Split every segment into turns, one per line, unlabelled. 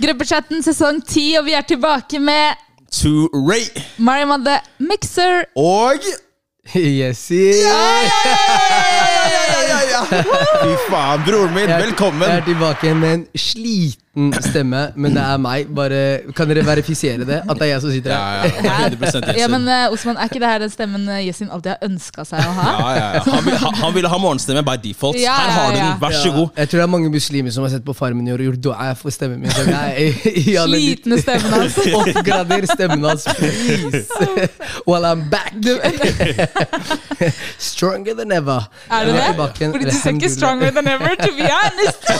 Gruppechatten sesong 10, og vi er tilbake med
to Ray.
Mariam and the Mixer.
Og
Jesse!
Fy faen, broren min, velkommen!
Jeg er tilbake med en sliten stemme, men det er meg. Bare, kan dere verifisere det? At det er jeg som sitter
Ja,
her?
ja, 100% Jesse.
Ja, men eh, Osman, er ikke det her den stemmen eh, Yesin alltid har ønska seg å ha?
Ja, ja, ja. Han, vil, han, han ville ha morgenstemme by default.
Ja,
Her har du
ja, ja.
den, vær så god.
Jeg tror det er mange muslimer som har sett på Farmen i år og gjort dua for stemmen min. Så jeg, i alle de-
Slitne stemmen hans.
Oppgrader stemmen hans, please! While I'm back! Stronger than ever.
Er det
Jeg
det?
tilbake igjen,
Fordi du ser ikke
alhamdulillah.
stronger than ever, to be honest.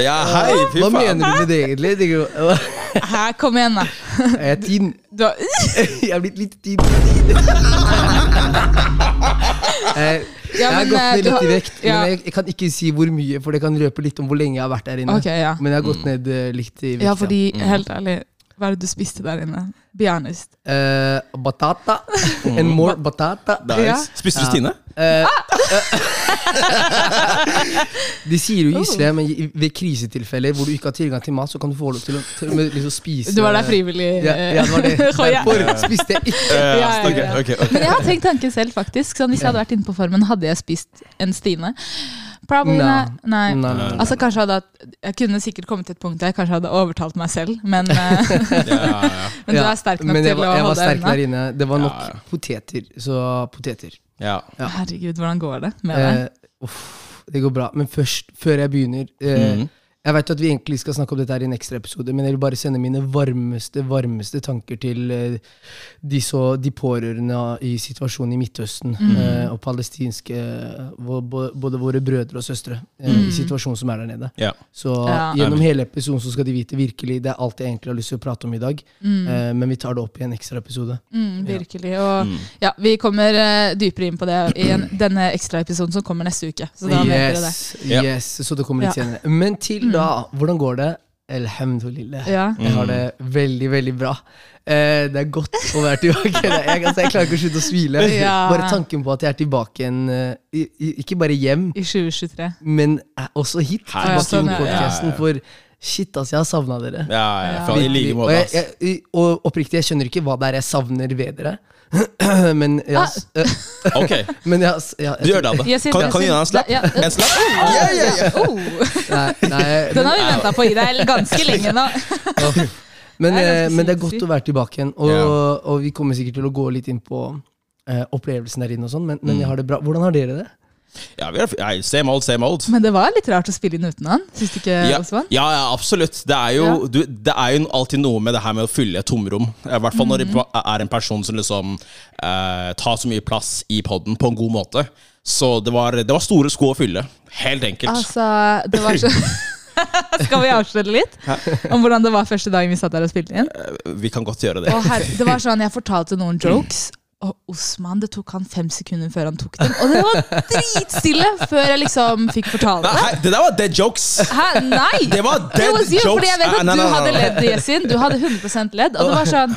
Ja, hei, fy
Hva
faen.
mener du med det egentlig? Det går-
Her, kom igjen, da.
Er jeg tynn?
Du har
Jeg er blitt litt tynn. Jeg, jeg har
men, eh, du
gått ned
har-
litt i vekt,
ja.
men jeg, jeg kan ikke si hvor mye, for det kan røpe litt om hvor lenge jeg har vært der inne.
Ok, ja.
Men jeg har gått ned eh, litt i vekt.
Ja, fordi,
Mm.
helt ærlig, hva er det du spiste der inne? Be honest.
Eh, batata. And more batata.
Mm.
Nice.
Eh,
Ja. Ah!
Spiste du Stine?
De sier
Oh.
jo gisle, men i- ved krisetilfeller hvor du ikke har tilgang til mat, så kan du få lov til å til og med liksom spise
Du var der frivillig. eh.
Ja, ja, det var det.
Hoi, ja.
Derfor spiste jeg ikke.
Eh,
ja, ja, ja.
ok, ok, ok.
Men jeg har tenkt tanken selv, faktisk. Sånn, hvis jeg hadde vært inne på Farmen, hadde jeg spist en Stine? Probably
No.
not. Nei.
Nei, nei, nei.
Altså, kanskje hadde hatt- jeg kunne sikkert kommet til et punkt der jeg kanskje hadde overtalt meg selv, men, eh,
Ja, ja, ja.
men du
Ja,
er sterk nok
men jeg
til
var-
å
Jeg var
holde
sterk der
øynene.
inne. Det var nok
Ja, ja.
poteter. Så poteter.
Ja.
ja.
Herregud, hvordan går det med deg?
Eh, uff, det går bra. Men først, før jeg begynner eh,
Mhm.
Jeg vet jo at vi egentlig skal snakke om dette her i en ekstra episode, men jeg vil bare sende mine varmeste varmeste tanker til eh, de, så, de pårørende i situasjonen i Midtøsten
Mhm.
eh, og palestinske eh, vå- bå- Både våre brødre og søstre eh, i situasjonen som er der nede.
ja.
Så
Mhm. Ja.
gjennom hele episoden så skal de vite virkelig Det er alt jeg egentlig har lyst til å prate om i dag,
Mhm.
eh, men vi tar det opp i en ekstra episode.
Mm, virkelig. Og ja, vi kommer eh, dypere inn på det i en, denne ekstraepisoden som kommer neste uke. Så da vet dere det.
Yes,
Ja.
yes, så det kommer litt
Ja. Mm.
senere. Men til da, hvordan går det? Elhamdulillah.
Ja.
Jeg har det veldig, veldig bra. Eh, det er godt å være tilbake. Jeg, altså, jeg klarer ikke å slutte å smile.
Ja.
Bare tanken på at jeg er tilbake igjen, eh, i- i- ikke bare hjem,
I 2023.
men eh, også hit.
Her.
Tilbake
Ja, sånn,
til
ja, ja,
podcasten,
ja.
for shit, ass, jeg har savna dere.
ja, ja. faen, I like
og,
måte,
jeg,
ass.
jeg, i- og oppriktig, jeg skjønner ikke hva det er jeg savner ved dere. Men jeg,
Ah.
har s- eh,
Ok,
men jeg, har s- ja,
du
jeg,
gjør det, Ada.
Yes, yes,
Kan,
yes,
kan du gi
yes.
deg en slapp?
Ja, ja.
En slapp?
Ja, ja, ja. Oh,
nei, nei,
den har vi venta på å gi deg ganske lenge nå. Det er ganske
Men, eh, men det er
sinnssykt.
godt å være tilbake igjen. Og,
Ja.
og vi kommer sikkert til å gå litt inn på eh, opplevelsen der inne og sånn, men, men jeg har det bra. Hvordan har dere det?
Ja, vi er, nei, same old, same old.
Men det var litt rart å spille inn uten han, syns du ikke,
Ja,
Osman?
ja, ja, absolutt. Det er, jo,
Ja.
du, det er jo alltid noe med det her med å fylle et tomrom. Eh, I hvert fall når det er en person som liksom eh, tar så mye plass i poden på en god måte. Så det var, det var store sko å fylle. Helt enkelt.
Altså, det var så Skal vi avsløre litt om hvordan det var første dagen vi satt der og spilte inn?
Eh, Vi kan godt gjøre det.
Og her, det var sånn, Jeg fortalte noen
Mm.
jokes, og Osman det tok han fem sekunder før han tok dem. Og det var dritstille før jeg liksom fikk fortale
Nei,
det.
hei, det der var dead jokes!
Hæ? Nei!
Det var
Det
dead
var sykt,
jokes!
fordi jeg vet at
Eh, nei,
du
nei, nei,
hadde
nei.
ledd, Yesin. Du hadde 100 ledd. Og det var sånn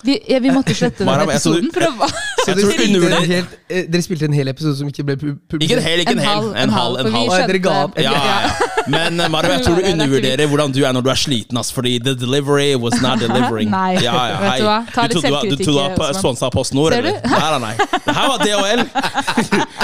Vi, ja, vi måtte slette den
Mariam, jeg tror du-
episoden, for det var
Jeg
dere,
tror du
spilte en
undervurderer
helt, eh, dere spilte en hel episode som ikke ble
Ikke
pu-
en
publisert?
hel, ikke en hel. En halv, en
for vi
halv.
Å, ja, dere ga
skjønte-
opp.
Ja, ja, ja. Men eh, Mariam, jeg tror du undervurderer hvordan du er når du er sliten. Ass, fordi the delivery was not delivering.
Nei,
ja, ja,
vet
hei.
du hva? Ta
Du
litt
trodde var-
selvkritikk, eh,
Du trodde du var
Osman.
sponsa av Post Nord?
Ser
eller?
du?
Nei, nei, nei. Det her var DHL.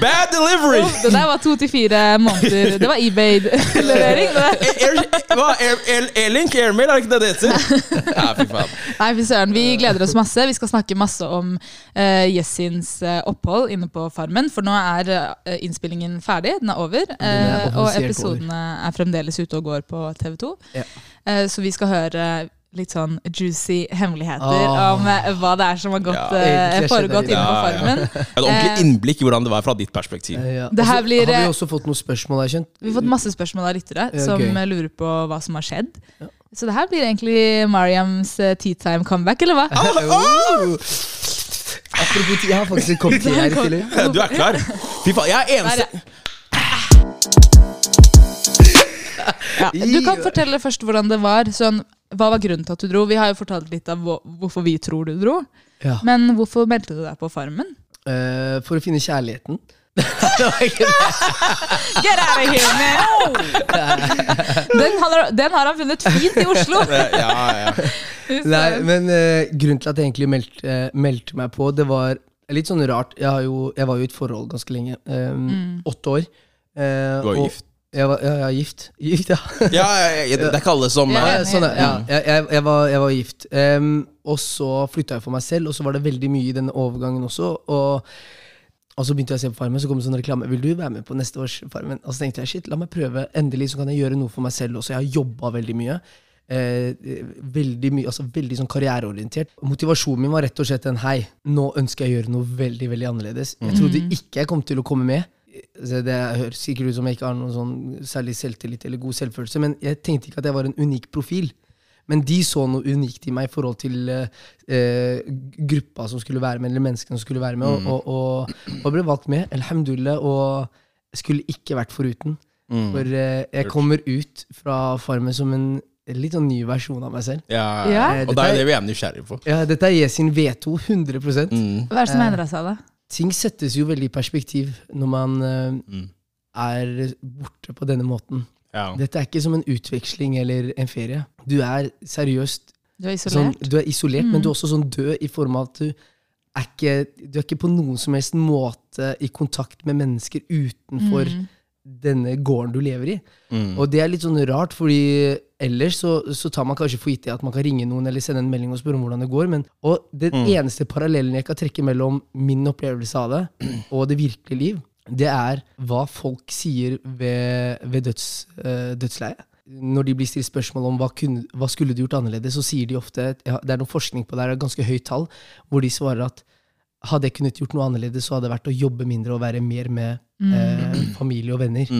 Bad delivery!
Jo, Det der var to til fire måneder. Det var eBay-levering. det der.
E- Air, hva? Air- Air- Airlink? Airmail, er det ikke det det heter? Ja, fy faen.
Nei, fy søren. Vi gleder oss masse. Vi skal snakke masse om uh, Jessins eh, opphold inne på Farmen. For nå er eh, innspillingen ferdig. Den er over. eh, og
offisielt
episodene er fremdeles ute og går på TV2.
Ja.
Eh, så vi skal høre litt sånn juicy hemmeligheter
Åh.
om eh, hva det er som har gått, eh,
Ja,
egentlig skjedde
foregått
det.
inne på
Ja, ja.
Farmen.
Et
Eh.
ordentlig innblikk i hvordan det var fra ditt perspektiv.
Eh, ja.
Det her
Også-
blir,
Har
eh,
vi også fått noen spørsmål, har jeg skjønt?
Vi har fått masse spørsmål av lyttere
Ja,
som
gøy.
eh, lurer på hva som har skjedd. Så det her blir egentlig Mariams eh, tea time comeback, eller hva?
Oh! Apropos tid, jeg har faktisk en kopp te her i tillegg.
Du er klar? Fy faen, jeg er eneste
Ja. Du kan fortelle først hvordan det var. Sånn, hva var grunnen til at du dro? Vi har jo fortalt litt av hvor- hvorfor vi tror du dro.
Ja.
Men hvorfor meldte du deg på Farmen?
Eh, for å finne kjærligheten. Det var ikke det.
Get out of here, man!
Nei,
Den har, den har han funnet fint i Oslo!
Eh, Ja, ja.
Nei, men eh, grunnen til at jeg egentlig meldte, eh, meldte meg på, det var litt sånn rart. Jeg, har jo, jeg var jo i et forhold ganske lenge. eh, Åtte år. eh,
Du var jo
og-
gift.
Jeg var, ja, ja, gift. Gift, ja.
Ja, ja, ja, det er ikke alle som
Ja,
Ja,
ja.
eh,
sånn, er- ja. Jeg, jeg, jeg, var, jeg var gift. Ehm, og så flytta jeg for meg selv, og så var det veldig mye i denne overgangen også. Og, og så begynte jeg å se på Farmen, så kom det sånn reklame. Vil du være med på neste års Farmen? Og så tenkte jeg shit, la meg prøve. Endelig så kan jeg gjøre noe for meg selv også. Jeg har jobba veldig mye. Eh, veldig mye, altså veldig sånn karriereorientert. Motivasjonen min var rett og slett den hei, nå ønsker jeg å gjøre noe veldig veldig annerledes. Jeg trodde ikke jeg kom til å komme med. Så Det høres sikkert ut som jeg ikke har noen sånn særlig selvtillit eller god selvfølelse, men jeg tenkte ikke at jeg var en unik profil. Men de så noe unikt i meg i forhold til eh, eh, gruppa som skulle være med, eller menneskene som skulle være med, og, og, og, og ble valgt med. Alhamdulillah. Og skulle ikke vært foruten.
Mm.
For eh, jeg kommer ut fra Farmen som en litt sånn ny versjon av meg selv.
ja, ja.
Ja.
Og det er jo det vi er nysgjerrige på.
Ja, dette er Yesin V2, 100
Mm.
Hva er det som endra seg, da?
Ting settes jo veldig i perspektiv når man eh, er borte på denne måten.
Mm. Ja.
Dette er ikke som en utveksling eller en ferie. Du er seriøst
Du er
sånn,
isolert. Mm.
du er isolert, men du er også sånn død i form av at du er ikke, du er ikke på noen som helst måte i kontakt med mennesker utenfor
Mm.
denne gården du lever i.
Mm.
Og det er litt sånn rart, fordi ellers så, så tar man kanskje for gitt det at man kan ringe noen eller sende en melding og spørre om hvordan det går. Men, og den eneste parallellen jeg kan trekke mellom min opplevelse av det og det virkelige liv, det er hva folk sier ved, ved døds, eh, dødsleiet. Når de blir stilt spørsmål om hva, kunne, hva skulle du gjort annerledes, så sier de ofte ja, Det er noe forskning på det, her, det er et ganske høyt tall, hvor de svarer at hadde jeg kunnet gjort noe annerledes, så hadde det vært å jobbe mindre og være mer med eh, familie og venner.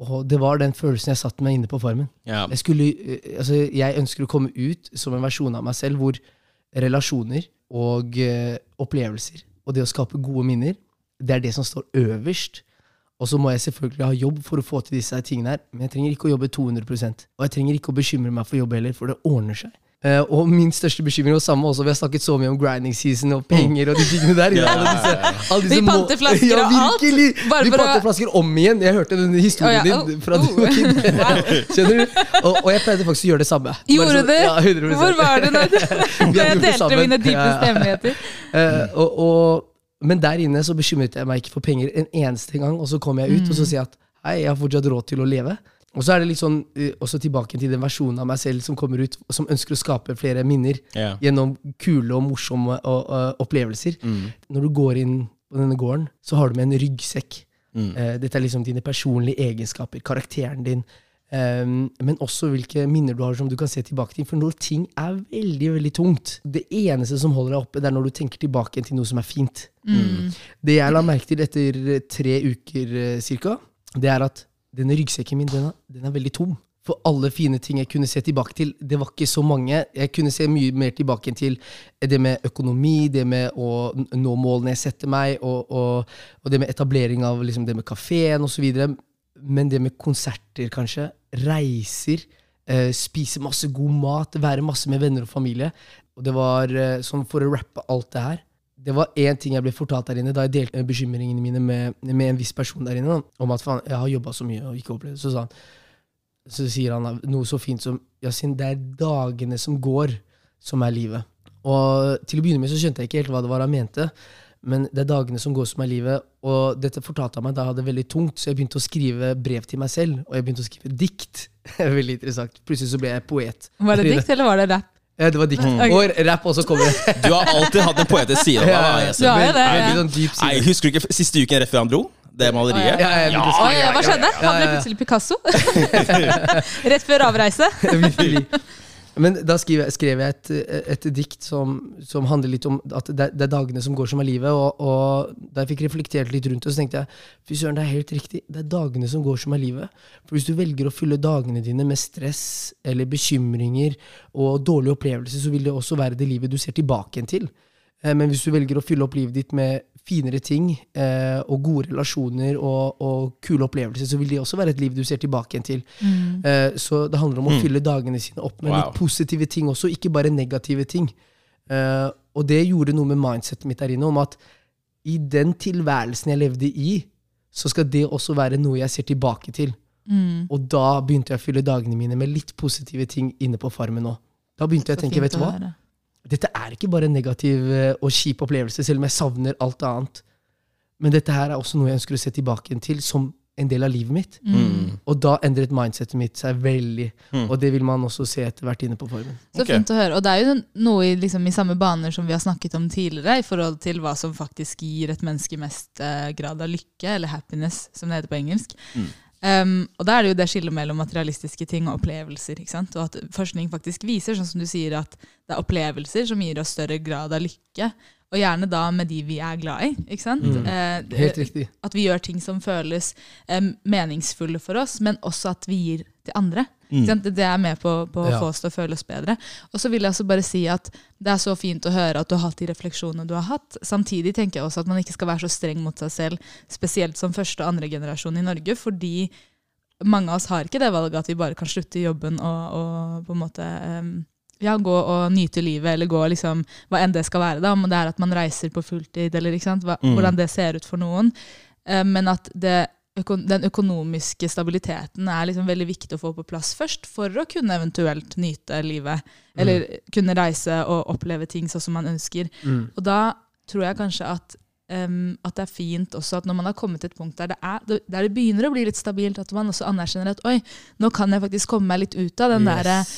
Og det var den følelsen jeg satt med inne på Farmen.
Mm. Ja.
Jeg, skulle, eh, altså, jeg ønsker å komme ut som en versjon av meg selv hvor relasjoner og eh, opplevelser og det å skape gode minner, det er det som står øverst. Og så må jeg selvfølgelig ha jobb for å få til disse her tingene her, men jeg trenger ikke å jobbe 200 Og jeg trenger ikke å bekymre meg for jobb heller, for det ordner seg. Eh, og min største bekymring var samme også, vi har snakket så mye om grinding season og penger og de tingene der.
Ja,
alle disse, alle disse
Vi
må-
panter flasker
ja,
og alt,
virkelig!
bare
Vi
for å-
panter flasker om igjen. Jeg hørte denne historien
Å, ja,
din
oh,
fra du
oh.
var kid. Skjønner du? Og, og jeg pleide faktisk å gjøre det samme. Bare
Gjorde
sånn-
du?
Ja, 100%.
Hvor var du da da
gjort
jeg
det
delte
sammen.
mine dypeste
Ja.
hemmeligheter?
Eh, og, og, men der inne så bekymret jeg meg ikke for penger en eneste gang, og så kom jeg ut
Mm.
og så sier jeg at hei, jeg har fortsatt råd til å leve. Og så er det litt sånn, eh, også tilbake til den versjonen av meg selv som kommer ut, og som ønsker å skape flere minner
Ja.
gjennom kule og morsomme og, og opplevelser.
Mm.
Når du går inn på denne gården, så har du med en ryggsekk.
Mm.
Eh, dette er liksom dine personlige egenskaper, karakteren din, eh, men også hvilke minner du har som du kan se tilbake til. For når ting er veldig veldig tungt Det eneste som holder deg oppe, det er når du tenker tilbake til noe som er fint.
Mm.
Mm. Det jeg la merke til etter eh, tre uker eh, cirka, det er at denne ryggsekken min, den er, den er veldig tom. For alle fine ting jeg kunne se tilbake til, det var ikke så mange. Jeg kunne se mye mer tilbake til det med økonomi, det med å n- nå målene jeg setter meg, og, og, og det med etablering av liksom det med kafeen osv. Men det med konserter, kanskje, reiser, eh, spise masse god mat, være masse med venner og familie Og det var, eh, sånn for å rappe alt det her, det var én ting jeg ble fortalt der inne da jeg delte bekymringene mine med, med en viss person der inne, da, om at faen, jeg har jobba så mye og ikke opplevd det. Så, sa han, så sier han da noe så fint som Yasin, det er dagene som går, som er livet. Og til å begynne med så skjønte jeg ikke helt hva det var han mente, men det er dagene som går, som er livet. Og dette fortalte han meg da jeg hadde det veldig tungt, så jeg begynte å skrive brev til meg selv, og jeg begynte å skrive dikt. veldig interessant. Plutselig så ble jeg poet.
Var det dikt, eller var det rap?
Ja, det var dikt.
Ok.
Og rap også kommer.
Du har alltid hatt en poetisk side av deg. da, Yasin.
Du har jo det,
Veldig-
ja.
veldig sånn dyp
Nei,
side.
Husker du ikke siste uken rett før han dro? Det maleriet?
Ja, jeg begynte å
Oi, hva skjedde? Han ble
ja, ja.
plutselig Picasso. Rett før avreise.
Virkelig. Men da skrev jeg, skrev jeg et, et dikt som, som handler litt om at det, er- det er dagene som går som er livet. Og, og da jeg fikk reflektert litt rundt det, så tenkte jeg fy søren, det er helt riktig. Det er dagene som går som er livet. For hvis du velger å fylle dagene dine med stress eller bekymringer og dårlige opplevelser, så vil det også være det livet du ser tilbake igjen til. Eh, Men hvis du velger å fylle opp livet ditt med finere ting eh, og gode relasjoner og, og kule opplevelser, så vil det også være et liv du ser tilbake igjen til.
Mm,
Eh, så det handler om å fylle dagene sine opp med
Wow.
litt positive ting også, ikke bare negative ting. Eh, og det gjorde noe med mindsetet mitt der inne, om at i den tilværelsen jeg levde i, så skal det også være noe jeg ser tilbake til.
mm.
Og da begynte jeg å fylle dagene mine med litt positive ting inne på farmen òg. Da begynte jeg å tenke, vet du hva? dette er ikke bare en negativ eh, og kjip opplevelse, selv om jeg savner alt annet. Men dette her er også noe jeg ønsker å se tilbake igjen til som en del av livet mitt. Og da endret mindsetet mitt seg veldig. Og det vil man også se etter hvert inne på formen.
Så
Ok.
fint å høre. Og det er jo noe i, liksom, i samme baner som vi har snakket om tidligere, i forhold til hva som faktisk gir et menneske mest eh, grad av lykke, eller happiness, som det heter på engelsk. Um, og da er det jo det skillet mellom materialistiske ting og opplevelser. ikke sant? Og at forskning faktisk viser, sånn som du sier, at det er opplevelser som gir oss større grad av lykke. Og gjerne da med de vi er glad i. ikke sant? Eh, det-
Helt riktig.
At vi gjør ting som føles eh, meningsfulle for oss, men også at vi gir til andre. Ikke sant? Det- Det er med på, på å
Ja.
få oss til å føle oss bedre. Og så vil jeg også bare si at det er så fint å høre at du har hatt de refleksjonene du har hatt. Samtidig tenker jeg også at man ikke skal være så streng mot seg selv, spesielt som første og andre generasjon i Norge, fordi mange av oss har ikke det valget at vi bare kan slutte i jobben og, og på en måte em, ja, gå og nyte livet, eller gå liksom, hva enn det skal være, da, om det er at man reiser på fulltid, eller ikke sant, hva, hvordan det ser ut for noen. Eh, men at det, øko, den økonomiske stabiliteten er liksom veldig viktig å få på plass først, for å kunne eventuelt nyte livet, eller kunne reise og oppleve ting sånn som man ønsker. Og da tror jeg kanskje at em, at det er fint også at når man har kommet til et punkt der det, er, der det begynner å bli litt stabilt, at man også anerkjenner at oi, nå kan jeg faktisk komme meg litt ut av den derre
Yes.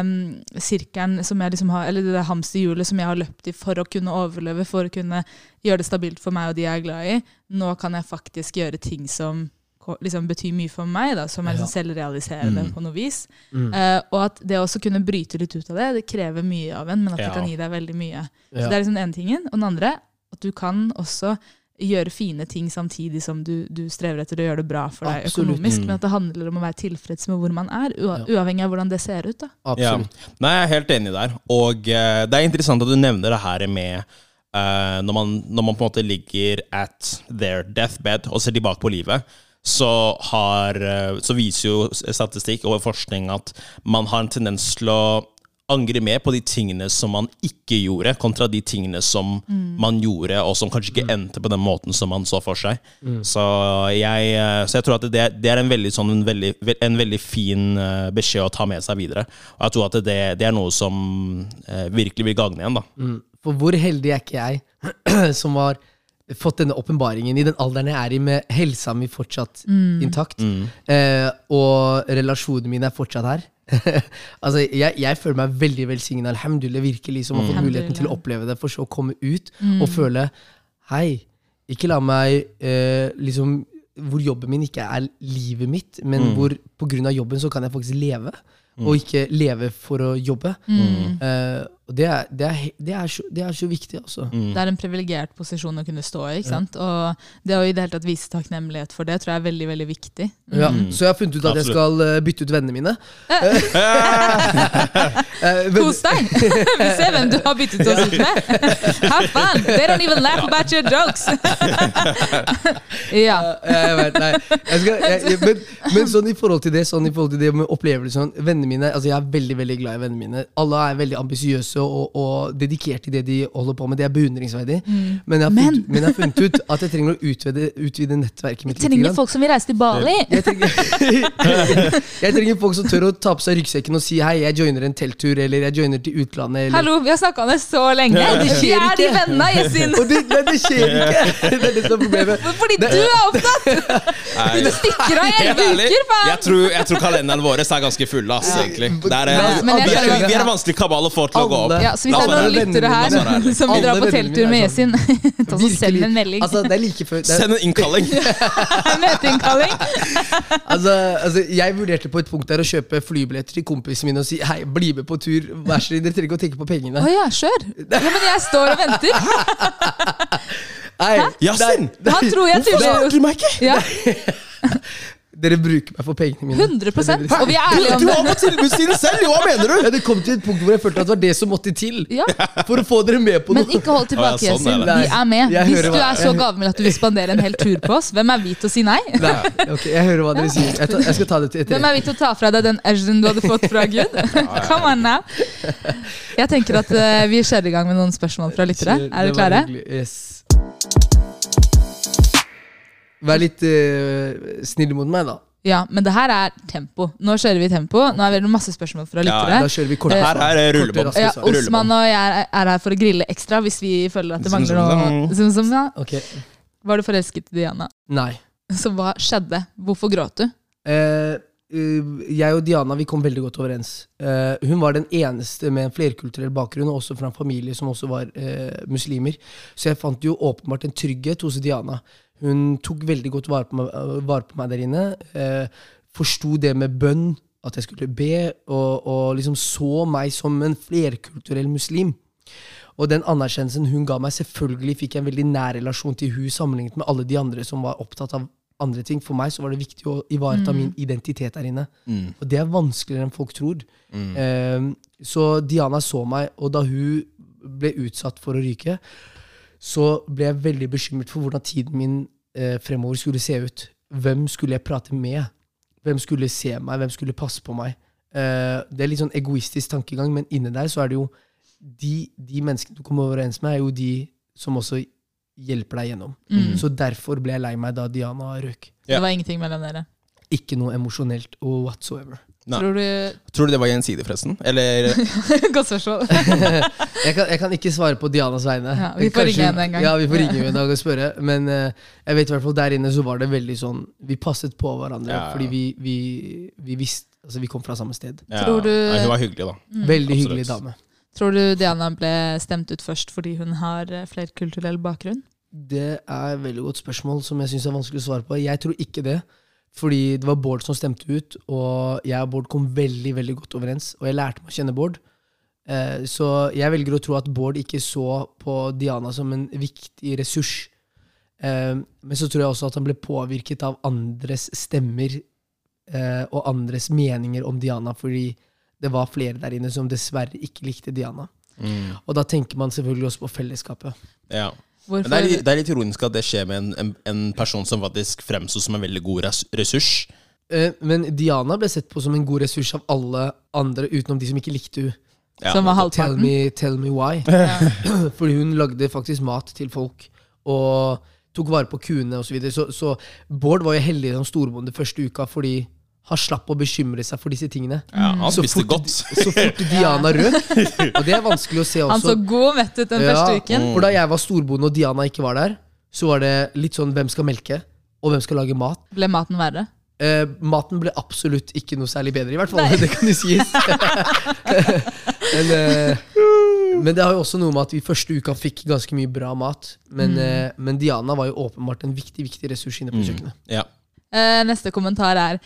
um, sirkelen som jeg liksom har, eller det der hamsterhjulet som jeg har løpt i for å kunne overleve, for å kunne gjøre det stabilt for meg og de jeg er glad i. Nå kan jeg faktisk gjøre ting som ko- liksom betyr mye for meg, da, som er liksom selvrealiserende på noe vis. Eh, og at det også kunne bryte litt ut av det, det krever mye av en, men at det
Ja.
kan gi deg veldig mye. Så
Ja.
det er liksom den ene tingen. Og den andre, at du kan også gjøre fine ting samtidig som du, du strever etter å gjøre det bra for deg
Absolutt. Mm.
økonomisk, men at det handler om å være tilfreds med hvor man er, ua uavhengig av hvordan det ser ut. da.
Ja.
Absolutt.
Nei, jeg er helt enig der. Og eh, det er interessant at du nevner det her med eh, når, man, når man på en måte ligger at their deathbed og ser tilbake på livet, så, har, eh, så viser jo statistikk og forskning at man har en tendens til å angre mer på de tingene som man ikke gjorde, kontra de tingene som man gjorde, og som kanskje ikke endte på den måten som man så for seg. Så, jeg, eh, så jeg tror at det, det er en veldig, sånn, en, veldig, ve- en veldig fin eh, beskjed å ta med seg videre. Og jeg tror at det, det er noe som eh, virkelig vil gagne igjen, da.
Mm. For hvor heldig er ikke jeg som har fått denne åpenbaringen i den alderen jeg er i, med helsa mi fortsatt
Mm.
intakt, eh, og relasjonene mine er fortsatt her. altså, jeg, jeg føler meg veldig velsigna, alhamdulillah, virkelig, som har fått muligheten til å oppleve det, for så å komme ut og føle Hei, ikke la meg eh, liksom Hvor jobben min ikke er livet mitt, men hvor på grunn av jobben så kan jeg faktisk leve. Og ikke leve for å jobbe. Eh, og det er, det, er, he- det, er så, det er så viktig, altså.
Det er en privilegert posisjon å kunne stå i. ikke sant? Og det å i det hele tatt vise takknemlighet for det, tror jeg er veldig veldig viktig.
Ja, så jeg har funnet ut at jeg
Absolutt.
skal eh, bytte ut vennene mine. Eh, venn-
Kos deg! Vi ser hvem du har byttet oss ut med! Have fun! They don't even laugh about your jokes! ja.
Ja, jeg vet, nei. Jeg skal, jeg, jeg, men, men sånn i forhold til det Sånn i forhold til det med opplevelser sånn, Vennene mine, altså jeg er veldig veldig glad i vennene mine. Alle er veldig ambisiøse og, og dedikert i det de holder på med. Det er beundringsverdig.
Mm.
Men, jeg har funnet, men jeg har funnet ut at jeg trenger å utvide, utvide nettverket mitt.
Vi trenger
grann.
folk som vil reise til Bali!
Jeg trenger, jeg trenger folk som tør å ta på seg ryggsekken og si hei, jeg joiner en telttur, eller jeg joiner til utlandet. Eller,
Hallo, vi har snakka om det så lenge!
det
Vi
skjer
er de
ikke.
vennene, Yesin!
Og det, nei, det skjer ikke! Det er det som er problemet.
Fordi du er opptatt! Du stikker av i
Helt
elleve
ærlig,
uker, faen!
jeg tror, jeg tror kalenderen vår er ganske full, ass, egentlig. Det er,
Men-
men jeg
vi, er,
skjønner det.
vi er en vanskelig kabal å få til å gå opp.
Alle-
Ja, så hvis det
La
er
oss være
noen
ærlige.
lyttere
La oss
her
være ærlige.
som vil dra
Alle
på
vennene mine
telttur med
er sånn.
Yesin, ta så send en melding.
Altså, det er like før det er,
Send en innkalling!
Møteinnkalling.
altså, altså, Jeg vurderte på et punkt der å kjøpe flybilletter til kompisene mine og si hei, bli med på tur, vær så snill, dere trenger ikke å tenke på
Å
pengene.
ja, kjør! Ja, men jeg står og venter.
Hei,
Yasin!
Han tror jeg
Hvorfor
tuller.
svarte du meg ikke?
Ja,
Dere bruker meg for pengene mine.
100 Og vi er
Du,
ærlige
du
om det.
var på tilbudssiden selv, jo, hva mener du?
Ja, det kom til et punkt hvor jeg følte at det var det som måtte til
Ja.
for å få dere med på
Men
noe.
ikke hold tilbake,
Å, ja, sånn
Yasin.
er
det.
Vi er med.
Jeg
Hvis
hører
du
hva-
er så gavmild at du vil spandere en hel tur på oss, hvem er vi til å si nei?
Nei, ok, Jeg hører hva dere sier. Jeg, tar, jeg skal ta det til
Hvem
etter.
er vi til å ta fra deg den edgen du hadde fått fra Gud? Come on now. Jeg tenker at eh, vi kjører i gang med noen spørsmål fra lyttere. Er dere
Det var
klare?
hyggelig. Yes. Vær litt eh, snill mot meg, da.
Ja, men det her er tempo. Nå kjører vi tempo. Nå er det masse spørsmål fra
Ja,
lyttere.
Da kjører vi
Eh,
kort.
Det her er
kort-
rullebånd.
raske
altså. Ja,
svar.
Rullebånd.
Osman og jeg er- er her for å grille ekstra hvis vi føler at det
Som-
mangler
som-
noe. Som, som, ja.
Ok.
Var du forelsket i Diana?
Nei.
Så hva skjedde? Hvorfor gråt du?
Eh, eh, jeg og Diana vi kom veldig godt overens. Eh, hun var den eneste med en flerkulturell bakgrunn, og også fra en familie som også var eh, muslimer. Så jeg fant jo åpenbart en trygghet hos Diana. Hun tok veldig godt vare på meg, vare på meg der inne. Eh, Forsto det med bønn, at jeg skulle be, og, og liksom så meg som en flerkulturell muslim. Og den anerkjennelsen hun ga meg, selvfølgelig fikk jeg en veldig nær relasjon til hun sammenlignet med alle de andre som var opptatt av andre ting. For meg så var det viktig å ivareta min identitet der inne.
Mm.
Og det er vanskeligere enn folk tror. Eh, så Diana så meg, og da hun ble utsatt for å ryke, så ble jeg veldig bekymret for hvordan tiden min eh, fremover skulle se ut. Hvem skulle jeg prate med? Hvem skulle se meg? Hvem skulle passe på meg? Eh, det er litt sånn egoistisk tankegang, men inni der så er det jo de, de menneskene du kommer overens med, er jo de som også hjelper deg gjennom. Så derfor ble jeg lei meg da Diana røk.
Ja.
Det var ingenting mellom dere.
Ikke noe emosjonelt og whatsoever.
Nei.
Tror du
Tror du det var gjensidig, forresten? Eller
Godt spørsmål.
Jeg kan, jeg kan ikke svare på Dianas vegne.
Ja, vi får ringe henne en gang.
Ja, vi får ringe henne en dag og spørre. Men eh, jeg vet i hvert fall der inne så var det veldig sånn Vi passet på hverandre
Ja, ja.
fordi vi, vi, vi visste Altså, vi kom fra samme sted.
ja.
Tror du-
Nei, Hun var hyggelig, da.
Mm.
Veldig
Absolutt.
hyggelig dame.
Tror du Diana ble stemt ut først fordi hun har eh, flerkulturell bakgrunn?
Det er et veldig godt spørsmål som jeg syns er vanskelig å svare på. Jeg tror ikke det. Fordi det var Bård som stemte ut, og jeg og Bård kom veldig veldig godt overens. Og jeg lærte meg å kjenne Bård. Eh, Så jeg velger å tro at Bård ikke så på Diana som en viktig ressurs. Eh, Men så tror jeg også at han ble påvirket av andres stemmer eh, og andres meninger om Diana, fordi det var flere der inne som dessverre ikke likte Diana.
Mm.
Og da tenker man selvfølgelig også på fellesskapet.
Mm. Ja. Men
Hvorfor?
det er, litt- det er litt ironisk at det skjer med en, en, en person som faktisk fremstår som en veldig god res ressurs.
Eh, Men Diana ble sett på som en god ressurs av alle andre, utenom de som ikke likte henne.
Ja,
som var
Tell
halvparten?
me, tell me why. Fordi hun lagde faktisk mat til folk, og tok vare på kuene osv. Så, videre. så så Bård var jo heldig som storbonde første uka, fordi han slapp å bekymre seg for disse tingene.
Ja, han
Så
spiste
fort-
godt.
Så fort Diana røk, og det er vanskelig å se også.
Han så god mett ut den første uken.
For da jeg var storbonde og Diana ikke var der, så var det litt sånn hvem skal melke, og hvem skal lage mat?
Ble maten verre?
Eh, maten ble absolutt ikke noe særlig bedre, i hvert fall. Det kan jo sies. men, eh, men det har jo også noe med at vi første uka fikk ganske mye bra mat.
Mm.
Men, eh, men Diana var jo åpenbart en viktig viktig ressurs inne på kjøkkenet.
Ja.
Eh, neste kommentar er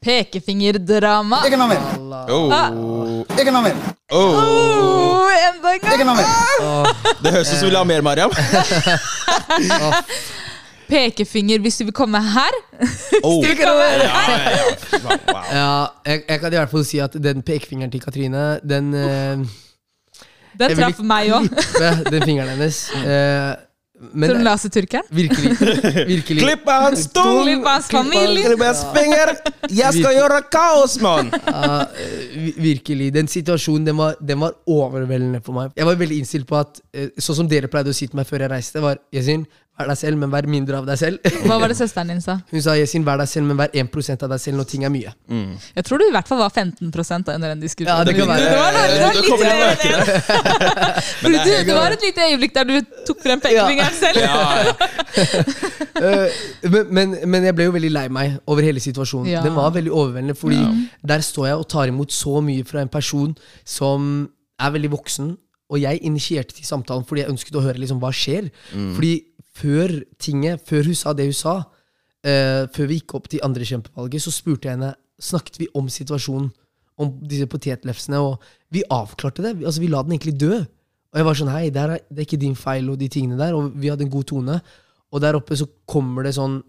pekefingerdrama.
Economic.
Oh.
Economic.
Oh.
Oh, enda en gang!
Economic.
Det høres ut som vi vil ha mer, Mariam.
Pekefinger hvis du vil komme her.
Oh.
Vil du komme her?
Ja, ja, ja. Fy faen, wow.
Ja, jeg, jeg kan i hvert fall si at den pekefingeren til Katrine, den eh,
Den
Jeg vil
traff
ikke
meg òg.
klippe den fingeren hennes. Eh,
Tror du
men
la seg turkeren?
virkelig, virkelig
Klipp av hans stol!
Klipp av hans familie.
Klipp av hans finger! Jeg skal gjøre kaos, mann!
Ja, vi- virkelig. Den situasjonen den var, den var overveldende for meg. Jeg var veldig innstilt på at eh, Sånn som dere pleide å si til meg før jeg reiste, var Yasin, vær deg selv, men vær mindre av deg selv.
Hva var det søsteren din sa?
Hun sa Yasin, vær deg selv, men vær 1 av deg selv når ting er mye.
Jeg tror du i hvert fall var 15 da under den diskusjonen.
Ja, det kan være.
Det var, det var
Det
litt
kommer
mer
til
enn det. Fordi du, det var et lite øyeblikk der du tok frem pekefingeren selv.
Ja, ja.
Eh, men, men, men jeg ble jo veldig lei meg over hele situasjonen.
Ja.
Den var veldig overveldende, fordi der står jeg og tar imot så mye fra en person som er veldig voksen, og jeg initierte til samtalen fordi jeg ønsket å høre liksom, hva skjer. Fordi før tinget, før hun sa det hun sa, eh, før vi gikk opp til andre kjempevalget, så spurte jeg henne Snakket vi om situasjonen, om disse potetlefsene, og vi avklarte det. Vi- Altså, vi la den egentlig dø. Og jeg var sånn Hei, det, her er, det er ikke din feil, og de tingene der. Og vi hadde en god tone. Og der oppe så kommer det sånn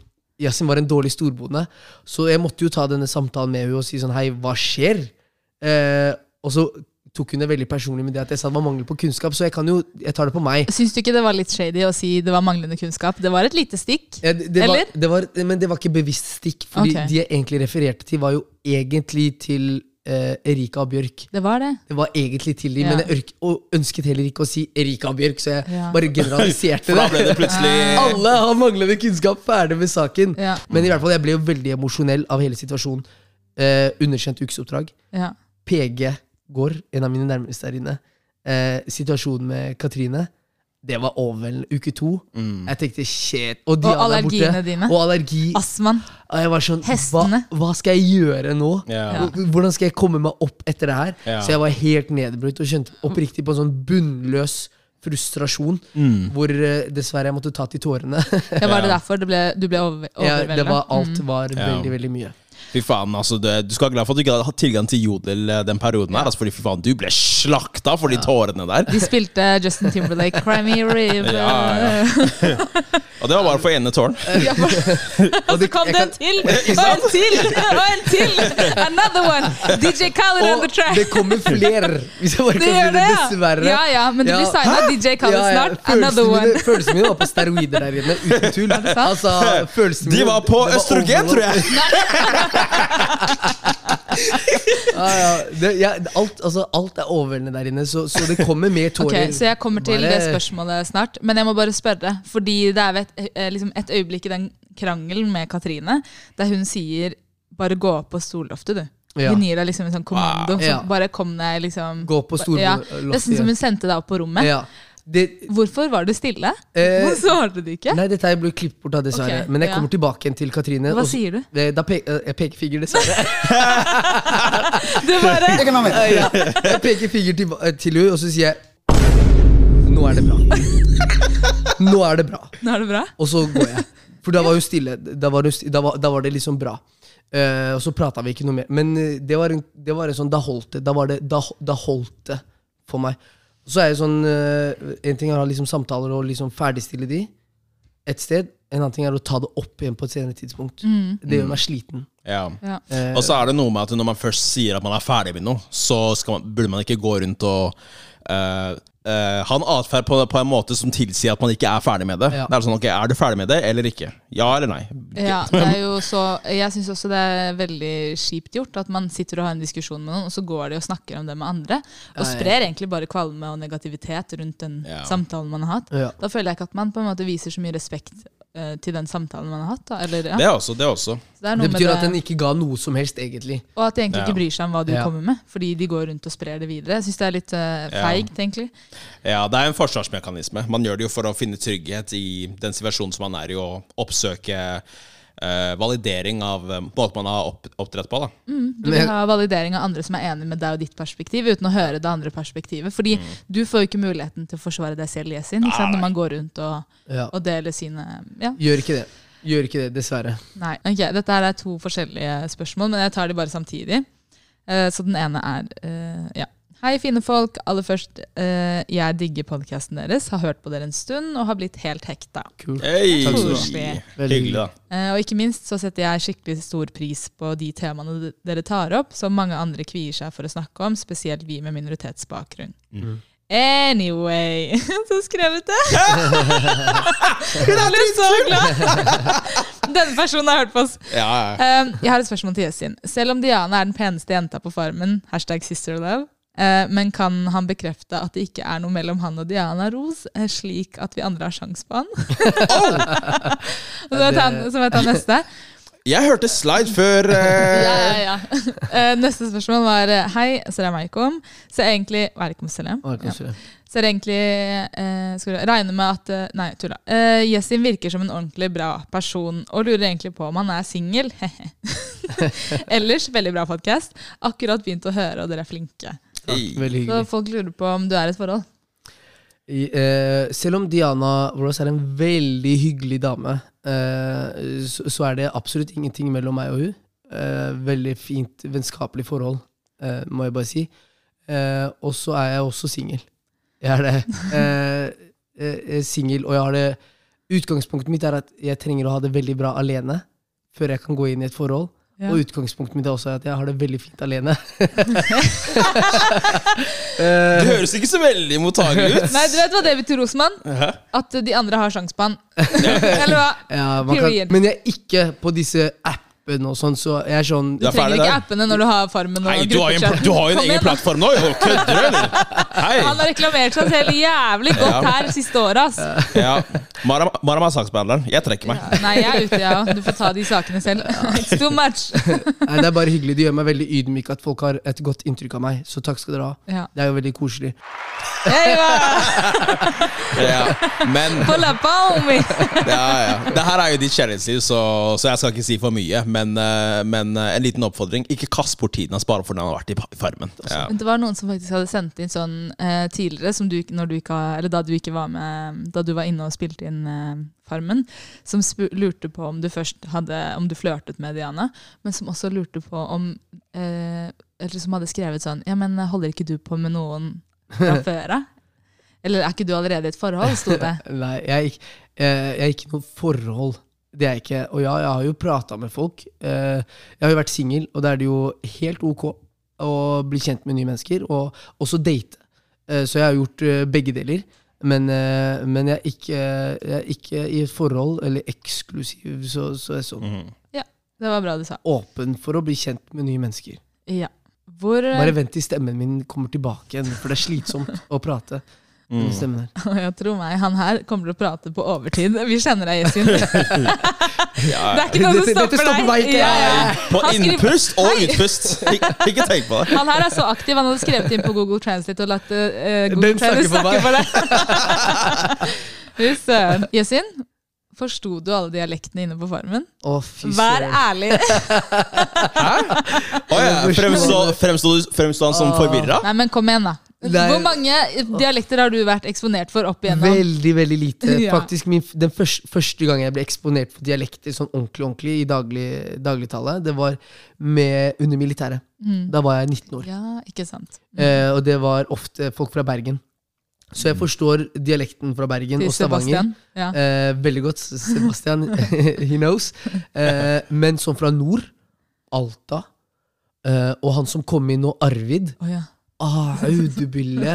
Yasin var en dårlig storbonde. Så jeg måtte jo ta denne samtalen med henne og si sånn Hei, hva skjer? Eh, og så tok hun det veldig personlig med det at jeg sa det var mangel på kunnskap, så jeg kan jo Jeg tar det på meg.
Syns du ikke det var litt shady å si det var manglende kunnskap? Det var et lite stikk.
Ja, det, det var,
Eller?
det var, men det var ikke bevisst stikk. Fordi
Ok.
de jeg egentlig refererte til, var jo egentlig til eh, Erika Bjørk.
Det var det.
Det var egentlig til de,
Ja.
men jeg ørk, og ønsket heller ikke å si Erika Bjørk, så jeg
Ja.
bare generaliserte
For da ble
det.
det plutselig
Alle har manglende kunnskap, ferdig med saken.
Ja.
Men i hvert fall, jeg ble jo veldig emosjonell av hele situasjonen. Eh, underkjent ukesoppdrag.
Ja.
PG går, en av mine nærmeste der inne. Eh, situasjonen med Katrine, det var overveldende. Uke to.
Mm.
Jeg tenkte shit. Og, Diana er borte.
allergiene dine.
Og allergi.
Astmaen.
Og jeg var sånn, hva,
Hestene.
hva skal jeg gjøre nå?
Ja.
Hvordan skal jeg komme meg opp etter det her?
Ja.
Så jeg var helt nedbrutt og kjente oppriktig på en sånn bunnløs frustrasjon.
Mm.
Hvor eh, dessverre jeg måtte ta til tårene.
Ja, var det
Ja.
derfor det ble, du ble over,
Ja,
overveldet?
det var, alt var
Mm. Ja.
veldig, veldig mye.
Fy faen, altså det, Du skal være glad for at du ikke hadde tilgang til Jodel eh, den perioden her. Altså, fordi fy faen, du ble slakta for de tårene der.
De spilte Justin Timberlake, 'Cry Me a River'.
Ja, ja. Og det var bare for ene tårn.
Ja, for- Og så kom
jeg
det en
kan-
til, og en til, og en til! Another one! DJ Khaled on
Og
the track.
det kommer flere! Hvis jeg bare kan
Det
si
gjør
det,
det,
dessverre.
ja, ja, men det
Ja.
blir signa DJ Khaled snart. Another
følelsene
one.
Mine, følelsene mine var på steroider der inne, uten tull. Altså, følelsene
De
mine-
var på
det
østrogen,
overload.
tror jeg!
Ja, ja, det, ja, alt, altså, alt er overveldende der inne, så, så det kommer mer tårer.
Ok, Så jeg kommer til
Bare-
det spørsmålet snart, men jeg må bare spørre. Fordi det er ved et, eh, liksom et øyeblikk i den krangelen med Katrine, der hun sier 'bare gå opp på stolloftet, du'.
Ja.
Hun gir deg liksom en sånn kommando.
Wow. Ja.
Så bare kom deg liksom
Gå på stolloftet,
Ja,
ja.
Nesten som hun sendte deg opp på rommet.
Ja. Det,
Hvorfor var du stille?
Eh,
Hvorfor svarte du ikke?
nei, dette her ble klippet bort, da, dessverre.
Ok,
Men jeg
ja.
kommer tilbake igjen til Katrine.
Hva
og så-
sier du?
Eh, Da pe eh, jeg peker finger, dessverre.
Du bare
Ja, ja. Jeg peker finger til, eh, til henne, og så sier jeg Nå er det bra. Nå er det bra.
Nå er det bra?
Og så går jeg. For da var hun stille. Da var, hun, sti- da var, da var det liksom bra. Eh, og så prata vi ikke noe mer. Men eh, det var en, det var en sånn Da holdt det. Da, var det, da, da holdt det for meg. Så er jo sånn eh, En ting er å ha liksom samtaler og liksom ferdigstille de et sted. En annen ting er å ta det opp igjen på et senere tidspunkt.
Mm.
Det gjør meg sliten. Eh,
Ja.
Ja.
Og så er det noe med at når man først sier at man er ferdig med noe, så skal man, burde man ikke gå rundt og eh, eh, ha en atferd på, på en måte som tilsier at man ikke er ferdig med det.
Ja.
Det Er sånn, ok, er du ferdig med det eller ikke? Ja eller nei?
Ja, det er jo så, jeg syns også det er veldig kjipt gjort at man sitter og har en diskusjon med noen, og så går de og snakker om det med andre, og
Nei.
sprer egentlig bare kvalme og negativitet rundt den
Ja.
samtalen man har hatt.
Ja.
Da føler jeg ikke at man på en måte viser så mye respekt eh, til den samtalen man har hatt. Da. Eller,
Det
ja.
er også, det er også.
så det er
Det
noe med
betyr at den
det.
ikke ga noe som helst, egentlig.
Og at de egentlig
Ja.
ikke bryr seg om hva du
Ja.
kommer med, fordi de går rundt og sprer det videre. Jeg syns det er litt eh, feigt, egentlig.
Ja, det er en forsvarsmekanisme. Man gjør det jo for å finne trygghet i den situasjonen som man er i, og oppsøke eh, validering av eh, måten man har opp, opptrett på. da.
Du vil ha validering av andre som er enig med deg og ditt perspektiv, uten å høre det andre perspektivet. Fordi
Mm.
du får jo ikke muligheten til å forsvare deg selv, Yesin, ikke sant? når man går rundt og,
Ja.
og deler sine Ja,
Gjør ikke det. Gjør ikke det, dessverre.
nei. Ok, dette her er to forskjellige spørsmål, men jeg tar de bare samtidig. Eh, så den ene er eh, Ja. Hei, fine folk. Aller først, eh, jeg digger podkasten deres, har hørt på dere en stund og har blitt helt hekta.
Kult.
Hey!
Takk
skal du ha.
Veldig
Hyggelig, da.
Eh, Og ikke minst så setter jeg skikkelig stor pris på de temaene d- dere tar opp, som mange andre kvier seg for å snakke om, spesielt vi med minoritetsbakgrunn. Anyway Så skrevet det! Hun er litt så glad! Denne personen har hørt på oss.
Ja, ja.
Eh, jeg har et spørsmål til Yesin. Selv om Diana er den peneste jenta på farmen, hashtag sisterlove, eh, men kan han bekrefte at det ikke er noe mellom han og Diana Ros, eh, slik at vi andre har sjans på han? Og så vet han- så vet han neste.
Jeg hørte slide før eh,
Ja, ja, ja. Eh, Neste spørsmål var eh, Hei, salam alaikum. Så egentlig Alaikum salam.
Å, jeg kan
Ja.
se det.
Så er det egentlig eh, Skal du regne med at eh, Nei, tulla. Eh, Yesin virker som en ordentlig bra person, og lurer egentlig på om han er singel. Ellers veldig bra podkast. Akkurat begynt å høre, og dere er flinke.
Hey.
Veldig
Så
hyggelig.
folk lurer på om du er i et forhold.
I, eh, selv om Diana Ross er en veldig hyggelig dame, eh, så, så er det absolutt ingenting mellom meg og hun. Eh, veldig fint, vennskapelig forhold, eh, må jeg bare si. Eh, og så er jeg også singel. Jeg er det. Eh, eh, singel, og jeg har det Utgangspunktet mitt er at jeg trenger å ha det veldig bra alene før jeg kan gå inn i et forhold.
Ja.
Og utgangspunktet mitt er også at jeg har det veldig fint alene. Eh,
Det høres ikke så veldig mottagelig ut.
Nei, du vet hva det betyr, Osman?
Hæ?
At eh, de andre har sjans på han. Eller hva?
Ja, man kan,
Period.
men jeg er ikke på disse app appen og sånn, så jeg er sånn
Du
Ja,
trenger
ferdig
ikke
der.
appene når du har Farmen
Nei,
og
du har jo en,
gruppechat.
du har jo en
Kom
egen
igjen, da.
plattform nå! jo. Kødder du, eller?
Han
Hei!
har reklamert seg selv jævlig godt her siste året, ass.
Ja. Maram Maram er saksbehandleren. Jeg trekker meg.
Nei, jeg er ute, jeg òg. Du får ta de sakene selv. It's too much.
Nei, det er bare hyggelig. Det gjør meg veldig ydmyk at folk har et godt inntrykk av meg. Så takk skal dere ha.
Ja.
Det er jo veldig koselig.
Hey, hva?
Ja. Men
Holda på, homie.
ja, ja. Det her er jo ditt kjærlighetsliv, så, så jeg skal ikke si for mye. Men, eh, men eh, en liten oppfordring. Ikke kast bort tiden hans bare fordi han har vært i pa- Farmen. Altså. Ja.
Men det var noen som faktisk hadde sendt inn sånn eh, tidligere, som du, ikke- når du ikke, har- eller da du ikke var med Da du var inne og spilte inn eh, Farmen, som spu- lurte på om du først hadde Om du flørtet med Diana, men som også lurte på om eh, Eller som hadde skrevet sånn Ja, men holder ikke du på med noen fra før av? Eller er ikke du allerede i et forhold, sto det.
Nei, jeg er ikke, eh, jeg er ikke noe forhold. Det er jeg ikke. Og ja, jeg har jo prata med folk. Eh, Jeg har jo vært singel, og da er det jo helt ok å bli kjent med nye mennesker, og også date. Eh, Så jeg har gjort eh, begge deler. Men, eh, men jeg, er ikke, jeg er ikke i et forhold, eller eksklusiv, så, så jeg er sånn
Mhm.
Det var bra du sa.
åpen for å bli kjent med nye mennesker.
Ja. Hvor eh,
Bare vent til stemmen min kommer tilbake igjen, for det er slitsomt å prate. med den stemmen her.
Jeg tror meg, han her kommer til å prate på overtid. Vi kjenner deg, Jøssin. Det er ikke noe som
Dette- dette
stopper
stopper meg
deg.
ikke.
Ja, ja, ja.
På
Han skriver-
innpust og utpust! Ikke, ikke tenk på det.
Han her er så aktiv. Han hadde skrevet inn på Google Translate og latt eh, Google
Den
Translate
snakker for
snakke for deg. Fy søren. Jøssin, forsto du alle dialektene inne på Farmen?
Å, fy
Vær
søren.
ærlig.
Å ja. Fremstod, fremstod, fremstod han som forvirra?
Nei, men kom igjen, da.
Nei.
Hvor mange dialekter har du vært eksponert for opp igjennom?
Veldig, veldig lite.
Ja.
Faktisk min, f- Den første, første gangen jeg ble eksponert for dialekter sånn ordentlig ordentlig i daglig, dagligtale, det var med, under militæret. Da var jeg 19 år.
Mm. Ja, ikke sant.
Eh, og det var ofte folk fra Bergen. Så jeg forstår dialekten fra Bergen
Til
og Stavanger.
Sebastian. Ja.
Eh, veldig godt, Sebastian. he knows. Eh, men sånn fra nord, Alta, eh, og han som kom inn nå, Arvid
Å, ja.
Ah, Audebille.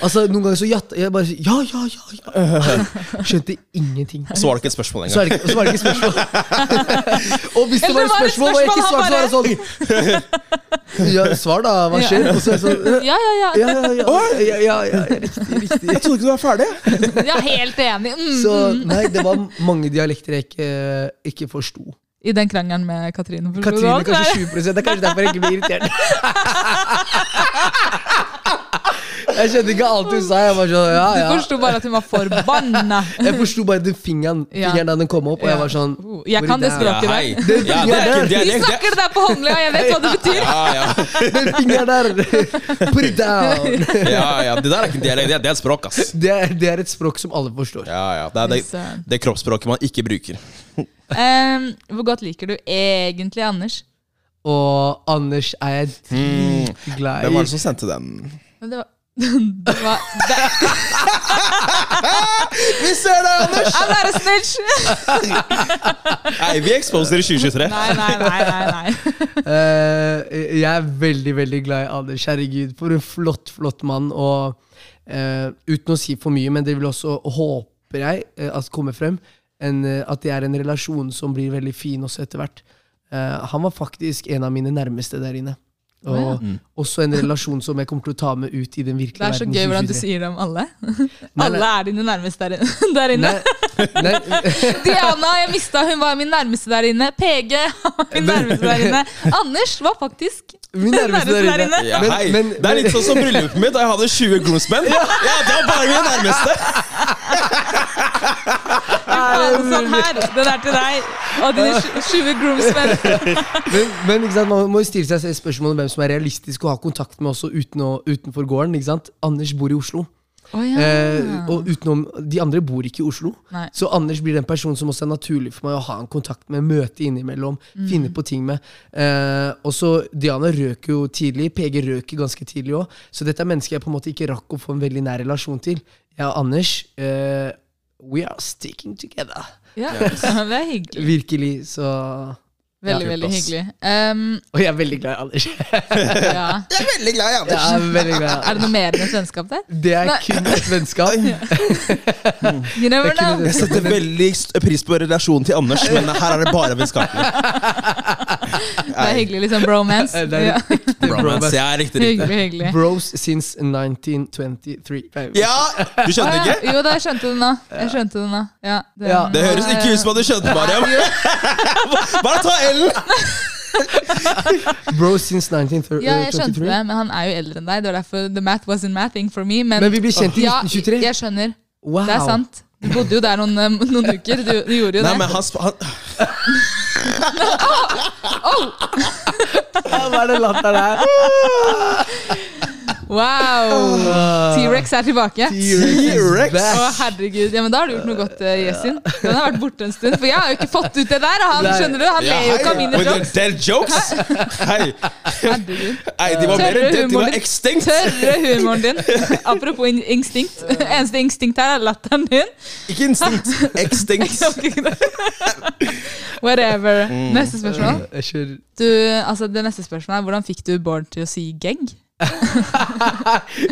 Altså, noen ganger så jatta jeg bare Ja, ja, ja. ja. Skjønte ingenting.
Så var det ikke et spørsmål engang.
Så er det ikke, så var det ikke spørsmål. Og hvis det
Eller
var et spørsmål, og jeg ikke svarte, så var det sånn Ja, svar, da. Hva skjer? Og så er jeg sånn
ja, ja, ja.
Ja, ja, ja. ja, ja, ja, ja riktig, riktig.
Jeg trodde ikke du var ferdig.
Jeg er helt enig. Mm.
Så nei, det var mange dialekter jeg ikke, ikke forsto.
I den krangelen med Katrine. forstod du
Katrine
alt, eller?
kanskje 20 Det er kanskje derfor jeg ikke blir irritert. Jeg skjønte ikke alt hun sa. Jeg var sånn, ja,
Du
ja.
forsto bare at hun var forbanna.
Jeg forsto bare den fingeren,
Ja.
fingeren da den kom opp, og jeg var sånn
Oh, Jeg
hvor
kan det
er-
Ja,
språket der.
hei. Ja, det er ikke en
De
dialekt. det-
snakker det der på Holmlia, jeg vet hva det betyr.
Ja, ja.
Den fingeren der! Put it down!
Ja, ja, Det der er ikke en dialekt, det er- det er et språk, ass.
Det er, det er et språk som alle forstår.
Ja, ja. Det er det, det er kroppsspråket man ikke bruker.
Ehm, hvor godt liker du egentlig Anders?
Og Anders er jeg
Hmm.
dritglad
Hvem var
i.
det som sendte den?
Men Det var, det var det,
Vi ser deg, Anders!
I'm not a snitch!
Nei, vi exposer i 2023.
Nei, nei, nei. nei, nei.
Eh, jeg er veldig, veldig glad i Anders. Herregud, for en flott, flott mann. Og eh, uten å si for mye, men det vil også, håper jeg, eh, at kommer frem, en, eh, at det er en relasjon som blir veldig fin også etter hvert. Eh, han var faktisk en av mine nærmeste der inne. Og
Å, ja.
også en relasjon som jeg kommer til å ta med ut i den virkelige
Det er så
verden. i
gøy hvordan du
2023.
sier det om alle.
Nei, nei.
Alle er dine nærmeste der, in- der inne.
Nei, nei,
Diana jeg mista, hun var min nærmeste der inne. PG var min nærmeste der inne. Anders var faktisk
min nærmeste der inne.
Ja,
Men-
hei.
men-
det er litt sånn som bryllupet mitt, da jeg hadde 20 groomsmen. Ja, det var bare mine nærmeste!
Alle sånn her. Den er til deg og dine 20 groomsmen.
Men, men ikke sant, man må jo stille seg selv spørsmålet om hvem som er realistisk å ha kontakt med også uten å, utenfor gården. ikke sant? Anders bor i Oslo.
Oh, ja.
Eh, og utenom, De andre bor ikke i Oslo.
Nei.
Så Anders blir den personen som også er naturlig for meg å ha en kontakt med, møte innimellom, finne på ting med. Eh, og så Diana røk jo tidlig, PG røk ganske tidlig òg. Så dette er mennesker jeg på en måte ikke rakk å få en veldig nær relasjon til. Jeg og Anders, eh, we are sticking together.
Ja, det er hyggelig.
Virkelig, så
Veldig,
Ja.
veldig hyggelig. Ehm,
Og jeg er veldig glad i Anders.
ja.
Jeg er veldig glad i
Jeg er veldig glad i Anders.
Er det noe mer enn et vennskap der?
Det er
Nei.
kun et vennskap.
You never
Det er ikke
know.
Jeg setter veldig st- pris på relasjonen til Anders, men her er det bare vennskapelig.
Det er hyggelig, liksom bromance.
Det er
Ja.
et ekte
Bromance.
bromance.
Jeg er riktig riktig.
Hyggelig, hyggelig.
Bros since 1923.
Ja! Du skjønner
Å,
ikke?
ja. Jo da, jeg skjønte det nå. Jeg skjønte det nå. Ja, det,
Ja.
Det høres ikke ut som at du skjønte, Mariam. Bare ta L-en!
Bros since 1923.
Ja, jeg skjønte det, men han er jo eldre enn deg. Det var derfor the math wasn't mathing for me. Men,
Men vi ble kjent i
ja,
1923.
jeg skjønner.
Wow.
Det er sant. Du bodde jo der noen, um, noen uker. Du, du gjorde jo
Nei,
det.
men han, sp- han
Ja, Hva er det latteren her?
Wow! T-rex er tilbake.
T-rex.
Å, herregud. Ja, men Da har du gjort noe godt, eh, Yesin. Den har vært borte en stund. For jeg har jo ikke fått ut det der. og Han
Nei.
skjønner du, han
Ja,
ler jo ikke av mine
Were there
jokes.
dead jokes? Hei.
Herregud.
Nei, de var mer
Tørre
enn dead, de
humoren
var
din.
extinct.
Tørre humoren din. Apropos in instinkt. Eneste instinkt her er latteren din.
Ikke instinkt, extinct.
Whatever.
Mm.
Neste spørsmål.
Jeg kjører
Du, altså Det neste spørsmålet er hvordan fikk du Bård til å si gegg?
Hæ?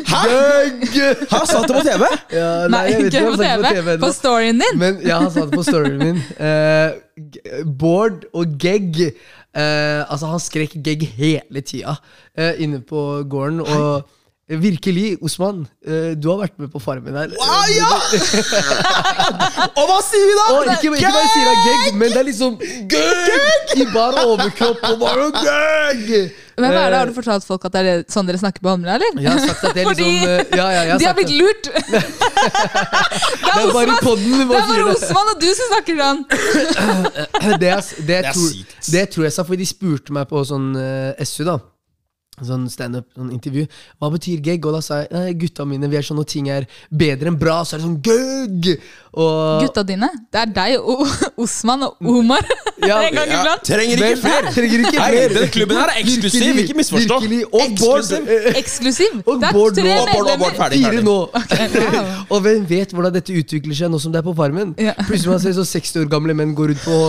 Hæ, sa han det på TV?
ja, Nei, jeg vet ikke om jeg har sagt det på TV
På
ennå.
storyen din.
Men jeg har sagt det på storyen min. Eh, g- Bård og Gegg eh, Altså, han skrek Gegg hele tida eh, inne på gården. Og virkelig, Osman, eh, du har vært med på Farmen her.
Ah, ja! Og hva sier vi da?
Og ikke, ikke bare sier han Gegg, men det er liksom Gegg! I bar overkropp og bare Gegg!
Men hva er det, Har
Eh,
du fortalt folk at det er det- sånn dere snakker på Holmlia, eller?
Jeg har sagt at det er liksom
Fordi-
eh, ja, ja, jeg
De har
sagt
blitt
det.
lurt! Det
Det
er
er bare i
Osman!
podden vi
Det
bare
er bare
sier det.
Osman og du som snakker sånn!
det, er, det,
er
tror,
sykt.
det tror jeg sa, fordi de spurte meg på sånn eh, SU, da. Sånn standup, sånn intervju. Hva betyr gegg? Og da sa jeg nei, gutta mine, vi er sånn når ting er bedre enn bra, så er det sånn gegg! Og
Gutta dine, det er deg og O- Osman og Omar
Ja,
en gang
Ja,
iblant.
trenger ikke
Men-
flere.
Trenger ikke
Nei,
flere.
den klubben her er eksklusiv,
Virkelig,
ikke misforstå.
Virkelig. Og Bård.
Eksklusiv.
eh,
Eksklusiv!
Og
Det er
Bård
tre
nå,
Og Bård, og Bård,
medlemmer.
ferdig,
Fire
ferdig.
nå.
Wow.
Og hvem vet hvordan dette utvikler seg nå som det er på Farmen?
Ja.
Plutselig man ser så 60 år gamle menn går ut på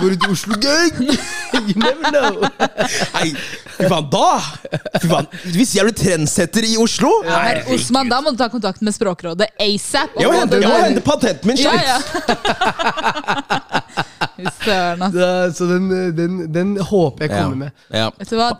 Går ut i Oslo. Gegg! You never know.
Nei, fy faen, da! Fy faen, Hvis jeg blir trendsetter i Oslo
Men Osman, da må du ta kontakt med Språkrådet asap. og
Jeg må
få
hente,
det
jeg må
der.
hente patenten min
Ja,
sjøl!
ja. Fy Søren, ass.
Da, så den, den, den håper jeg kommer med.
Ja.
Vet du hva?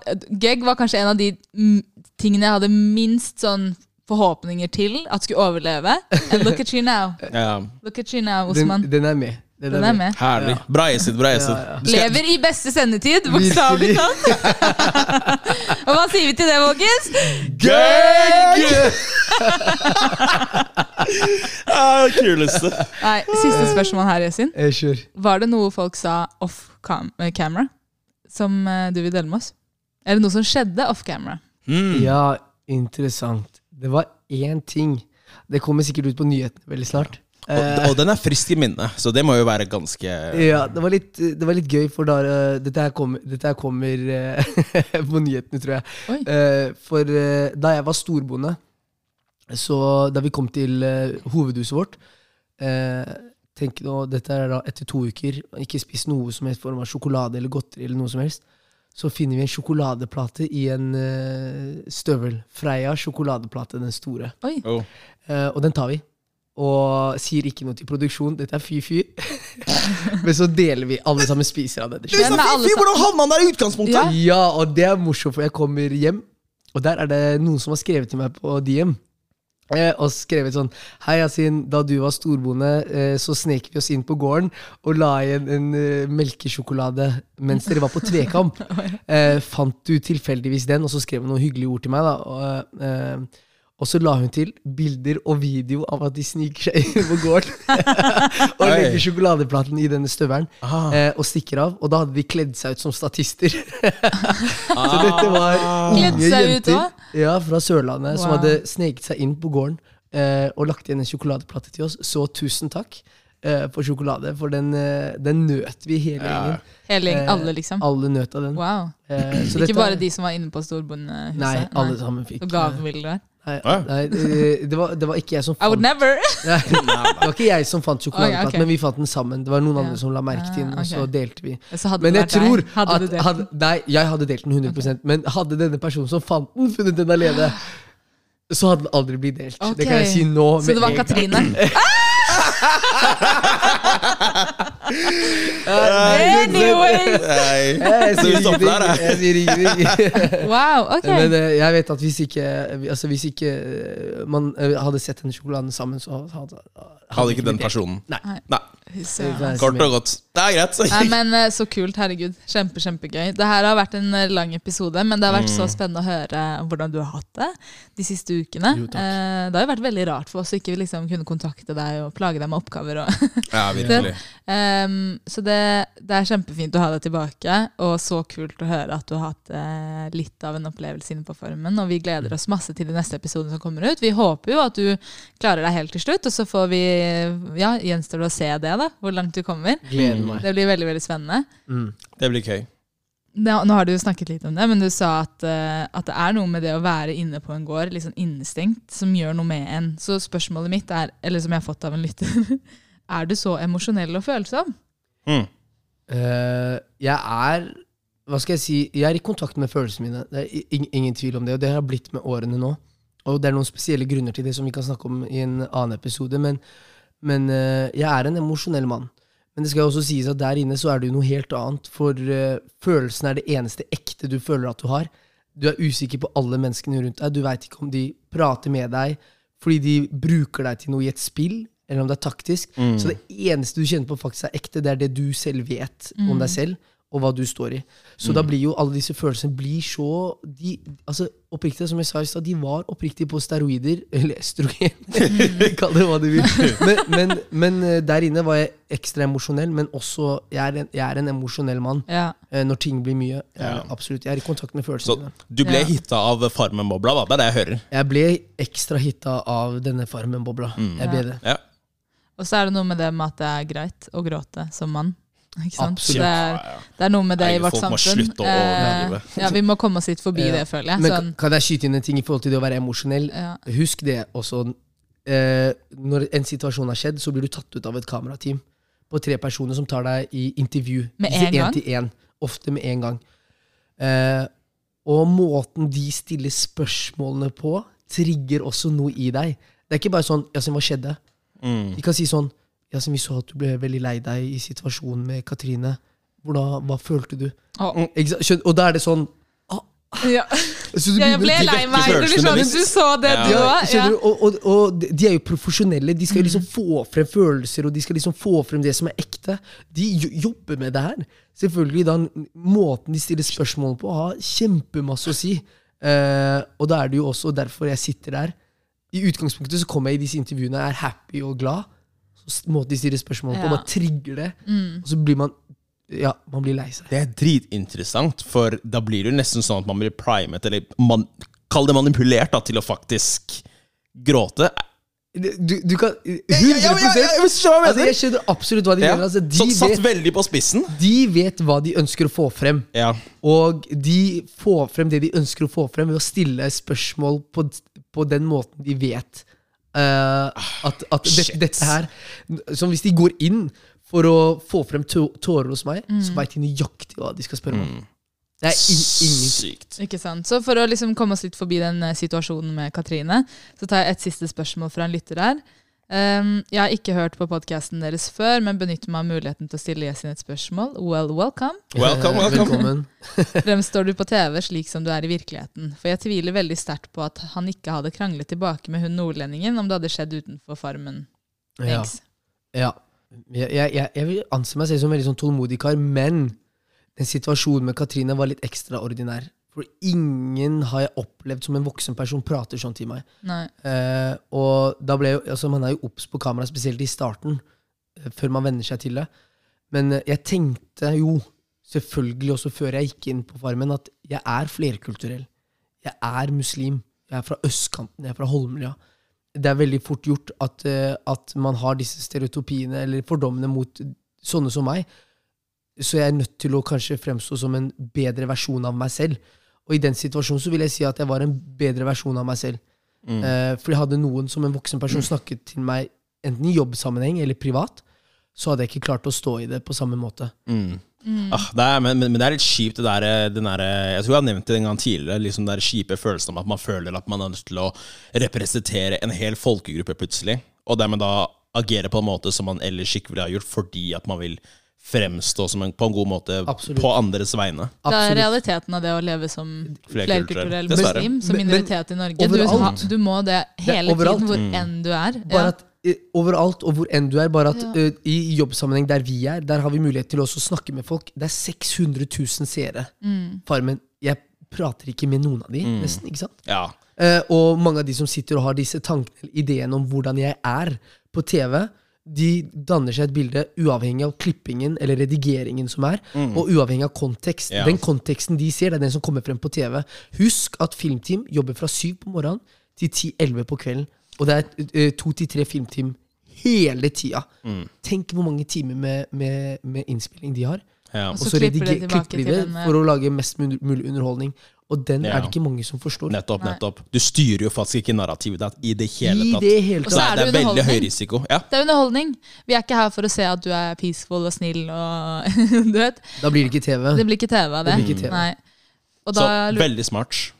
Gegg var kanskje en av de mm, tingene jeg hadde minst sånn forhåpninger til at skulle overleve. And look at you now.
Ja.
Look at you now, Osman.
Den, den er med.
Den er med.
Herlig. Bra Esid, bra Esid.
Ja, ja.
Du skal-
Lever i beste sendetid, bokstavelig
Virkelig.
talt. Og hva sier vi til det, folkens?
Gøy! Ja, det kuleste.
Nei, Siste spørsmål her, Yasin.
Jeg kjører.
Var det noe folk sa off cam eh, camera som eh, du vil dele med oss? Er det noe som skjedde off camera?
Ja, interessant. Det var én ting. Det kommer sikkert ut på nyhetene veldig snart.
Og, og den er frisk i minnet, så det må jo være ganske
Ja, det var litt, det var litt gøy, for da, eh, dette her kommer, dette her kommer eh, på nyhetene, tror jeg.
Oi.
Eh, for eh, da jeg var storbonde, så da vi kom til eh, hovedhuset vårt eh, Tenk nå, dette er da etter to uker, og ikke spist noe som helst form av sjokolade eller godteri. eller noe som helst Så finner vi en sjokoladeplate i en eh, støvel. Freia sjokoladeplate, den store.
Oi.
oh.
Eh, og den tar vi. Og sier ikke noe til produksjon. Dette er fy-fy. Men så deler vi. Alle sammen spiser av det.
Den er alle sa-
Hvordan havna han der i utgangspunktet?
Ja.
Ja, og det er morsomt, for jeg kommer hjem, og der er det noen som har skrevet til meg på DM. Eh, og skrevet sånn Hei, Yasin. Da du var storbonde, eh, så snek vi oss inn på gården og la igjen en eh, melkesjokolade mens dere var på tvekamp. Eh, fant du tilfeldigvis den? Og så skrev hun noen hyggelige ord til meg. da Og, eh, og så la hun til bilder og video av at de sniker seg inn på gården og
Oi.
legger sjokoladeplaten i denne støvelen
Ah.
eh, og stikker av. Og da hadde de kledd seg ut som statister. Så dette var
Kledd
unge
seg ut
jenter
også?
ja, fra Sørlandet som
Wow.
hadde sneket seg inn på gården eh, og lagt igjen en sjokoladeplate til oss. Så tusen takk. eh, på sjokolade, for den, eh, den nøt vi hele
Ja.
gjengen.
Hele,
Eh,
alle, liksom.
Alle nøt av den.
Wow.
Eh, så
Ikke
dette-
bare de som var inne på storbondehuset.
Nei, alle sammen fikk
Og gavebilder der.
Nei,
Ja.
nei eh, det, var, det var ikke jeg som
I would
fant
never!
Nei, Det var ikke jeg som fant sjokoladeplaten,
Å, ja, ok.
men vi fant den sammen. Det var noen andre
Ja.
som la merke til den,
Ah,
og så
ok.
delte vi.
Så hadde
Men
det
jeg
vært
tror
deg. Hadde du
at
delt den?
hadde, Nei, jeg hadde delt den 100 Men hadde denne personen som fant den, funnet den alene, så hadde den aldri blitt delt.
Ok.
Det kan jeg si nå.
Så
med
det var
en gang.
Katrine? Ah! Anyway!
Nei.
Eh, Jeg
Så vi
sier
stopper der,
ingenting. Jeg sier ingenting.
Wow, ok.
Men eh, jeg vet at hvis ikke, altså hvis ikke eh, man eh, hadde sett denne sjokoladen sammen, så hadde,
Hadde ikke den
blitt delt.
personen.
Nei.
Nei.
Søren.
Det er så
Kort
mye.
og godt. Det er greit.
Nei, men eh, Så kult. Herregud. Kjempe, Kjempegøy. Det her har vært en eh, lang episode, men det har vært
Mm.
så spennende å høre hvordan du har hatt det de siste ukene.
Jo, takk.
Eh, det har jo vært veldig rart for oss å ikke liksom kunne kontakte deg og plage deg med oppgaver. Og,
Ja, virkelig.
Em, Ehm, så det, det er kjempefint å ha deg tilbake, og så kult å høre at du har hatt eh, litt av en opplevelse inne på Formen. Og vi gleder oss masse til de neste episodene som kommer ut. Vi håper jo at du klarer deg helt til slutt, og så får vi Ja, gjenstår det å se det, da. Hvor langt du kommer.
Gleder meg.
Det blir veldig, veldig spennende.
Mm.
Det blir gøy.
Nå, nå har du jo snakket litt om det, men du sa at, eh, at det er noe med det å være inne på en gård, litt sånn innestengt, som gjør noe med en. Så spørsmålet mitt er, eller som jeg har fått av en lytter, er du så emosjonell og følsom?
Mm.
Eh, jeg er Hva skal jeg si? Jeg er i kontakt med følelsene mine. Det er i- ing- ingen tvil om det, og det har jeg blitt med årene nå. Og det er noen spesielle grunner til det som vi kan snakke om i en annen episode, men, men eh, jeg er en emosjonell mann. Men det skal jo også sies at der inne så er det jo noe helt annet, for eh, følelsen er det eneste ekte du føler at du har. Du er usikker på alle menneskene rundt deg. Du veit ikke om de prater med deg fordi de bruker deg til noe i et spill, eller om det er taktisk.
Mm.
Så det eneste du kjenner på faktisk er ekte, det er det du selv vet om deg selv, og hva du står i. Så
Mm.
da blir jo alle disse følelsene blir så de, altså oppriktige, Som jeg sa i stad, de var oppriktige på steroider, eller estrogen, kall det hva du vil. Men, men, men eh, der inne var jeg ekstra emosjonell, men også jeg er en, jeg er en emosjonell mann.
Ja.
eh, Når ting blir mye. Jeg er,
Ja.
absolutt, jeg er i kontakt med
Så
følelsene. mine.
du ble
Ja.
hitta av Farmen-bobla, da. Det er det jeg hører.
Jeg ble ekstra hitta av denne Farmen-bobla. Jeg ble det.
Ja.
Og så er det noe med det med at det er greit å gråte som mann. Ikke sant?
Absolutt.
Så Det
Ja,
er,
ja.
det er noe med det i
Herregud,
vårt
folk må
samfunn.
slutte å
Eh,
overdrive.
ja, vi må komme oss litt forbi
Ja.
det, føler jeg.
Men kan,
Sånn,
kan jeg skyte inn en ting i forhold til det å være emosjonell?
Ja.
Husk det også. Eh, når en situasjon har skjedd, så blir du tatt ut av et kamerateam på tre personer som tar deg i intervju.
Med
Ikke
en
én
gang?
Til en, ofte med en gang. Eh, og måten de stiller spørsmålene på, trigger også noe i deg. Det er ikke bare sånn 'Yasin, hva skjedde?'
Mm.
De kan si sånn 'Yasin, vi så at du ble veldig lei deg i situasjonen med Katrine. Hvordan, hva følte du?'
Å.
Ikke sant? Skjønn- Og da er det sånn
ja.
så du
Jeg
begynner å
ble
trigge-
lei meg!
følelsene
Du, blir sånn,
bevisst.
du så det,
Ja.
du
Ja,
òg? Ja.
skjønner du? og, og, og de- de er jo profesjonelle. De skal jo liksom få frem følelser og de skal liksom få frem det som er ekte. De jo- jobber med det her. Selvfølgelig da, Måten de stiller spørsmål på, har kjempemasse å si. Eh, og da er det jo også derfor jeg sitter der. I utgangspunktet så kommer jeg i disse intervjuene og er happy og glad. Så s- måten de stiller spørsmål på,
Ja.
man trigger det. Og så blir man Ja, man blir lei seg.
Det er dritinteressant, for da blir det jo nesten sånn at man blir primet, eller man, kall det manipulert, da, til å faktisk gråte.
Du, du kan 100
skjønner
altså, Jeg skjønner absolutt hva de
Ja.
mener. Altså, de,
Så satt
vet,
veldig på spissen.
de vet hva de ønsker å få frem.
Ja.
Og de får frem det de ønsker å få frem ved å stille spørsmål på, på den måten de vet eh, at, at det,
Shit.
dette her Som hvis de går inn for å få frem tå- tårer hos meg, så veit de nøyaktig hva de skal spørre om.
Mm.
Det er in ingen
Sykt.
Ikke sant? Så for å liksom komme oss litt forbi den eh, situasjonen med Katrine, så tar jeg et siste spørsmål fra en lytter her. Um, jeg har ikke hørt på podkasten deres før, men benytter meg av muligheten til å stille Yasin et spørsmål. Well, welcome.
Welcome,
Eh,
welcome.
Velkommen.
Fremstår du på TV slik som du er i virkeligheten? For jeg tviler veldig sterkt på at han ikke hadde kranglet tilbake med hun nordlendingen om det hadde skjedd utenfor Farmen.
Ja.
Thanks.
Ja. Jeg, jeg, jeg, jeg vil anse meg selv som en veldig sånn tålmodig kar, men den situasjonen med Katrine var litt ekstraordinær. For ingen har jeg opplevd som en voksen person prater sånn til meg.
Nei.
Eh, og da ble jo, altså Man er jo obs på kamera, spesielt i starten, eh, før man venner seg til det. Men eh, jeg tenkte jo, selvfølgelig også før jeg gikk inn på Farmen, at jeg er flerkulturell. Jeg er muslim. Jeg er fra østkanten. Jeg er fra Holmlia. det er veldig fort gjort at, eh, at man har disse stereotypiene eller fordommene mot sånne som meg. Så jeg er nødt til å kanskje fremstå som en bedre versjon av meg selv. Og i den situasjonen så vil jeg si at jeg var en bedre versjon av meg selv. Eh, fordi hadde noen som en voksen person snakket til meg enten i jobbsammenheng eller privat, så hadde jeg ikke klart å stå i det på samme måte.
Ah, det er, men, men men det er litt kjipt, det der, eh, den der Jeg tror jeg har nevnt det en gang tidligere. Liksom den der kjipe følelsen om at man føler at man er nødt til å representere en hel folkegruppe plutselig. Og dermed da agere på en måte som man ellers ikke ville ha gjort, fordi at man vil fremstå som en, på en god måte
Absolutt.
på andres vegne.
Det er
Absolutt.
realiteten av det å leve som
Flerkulturell,
flerkulturell
dessverre.
muslim, som
Men- men-
minoritet i Norge. Du,
overalt.
du må det
er
hele
overalt.
tiden, hvor
Mm.
enn du er.
Bare
Ja.
at eh, Overalt og hvor enn du er. Bare at
Ja.
eh, I jobbsammenheng der vi er, der har vi mulighet til også å snakke med folk. Det er 600 000 seere.
Mm.
Farmen. Jeg prater ikke med noen av de, nesten. ikke sant?
Ja.
Eh, og mange av de som sitter og har disse tankene eller ideene om hvordan jeg er på TV, de danner seg et bilde uavhengig av klippingen eller redigeringen som er, og uavhengig av kontekst.
Mm. Ja.
Den konteksten de ser, det er den som kommer frem på TV. Husk at filmteam jobber fra syv på morgenen til 10-11 på kvelden. Og det er eh, to til tre filmteam hele tida.
Mm.
Tenk hvor mange timer med, med, med innspilling de har.
ja.
Og
Og
så
så
klipper de tilbake
rediger- klipper
til
de det
en, eh,
for å lage mest mun- mulig underholdning. Og den
Ja.
er det ikke mange som forstår.
Nettopp,
Nei.
nettopp. Du styrer jo faktisk ikke narrativet ditt i det hele
I
tatt.
det
Og
hele
Så
så
det,
tatt.
er
er, det er
det
veldig høy
underholdning.
risiko. Ja.
Det er underholdning. Vi er ikke her for å se at du er peaceful og snill og du vet.
Da blir det ikke TV.
Det blir ikke TV av det.
Det blir ikke TV.
Nei. Og
Så
da lurer
veldig smart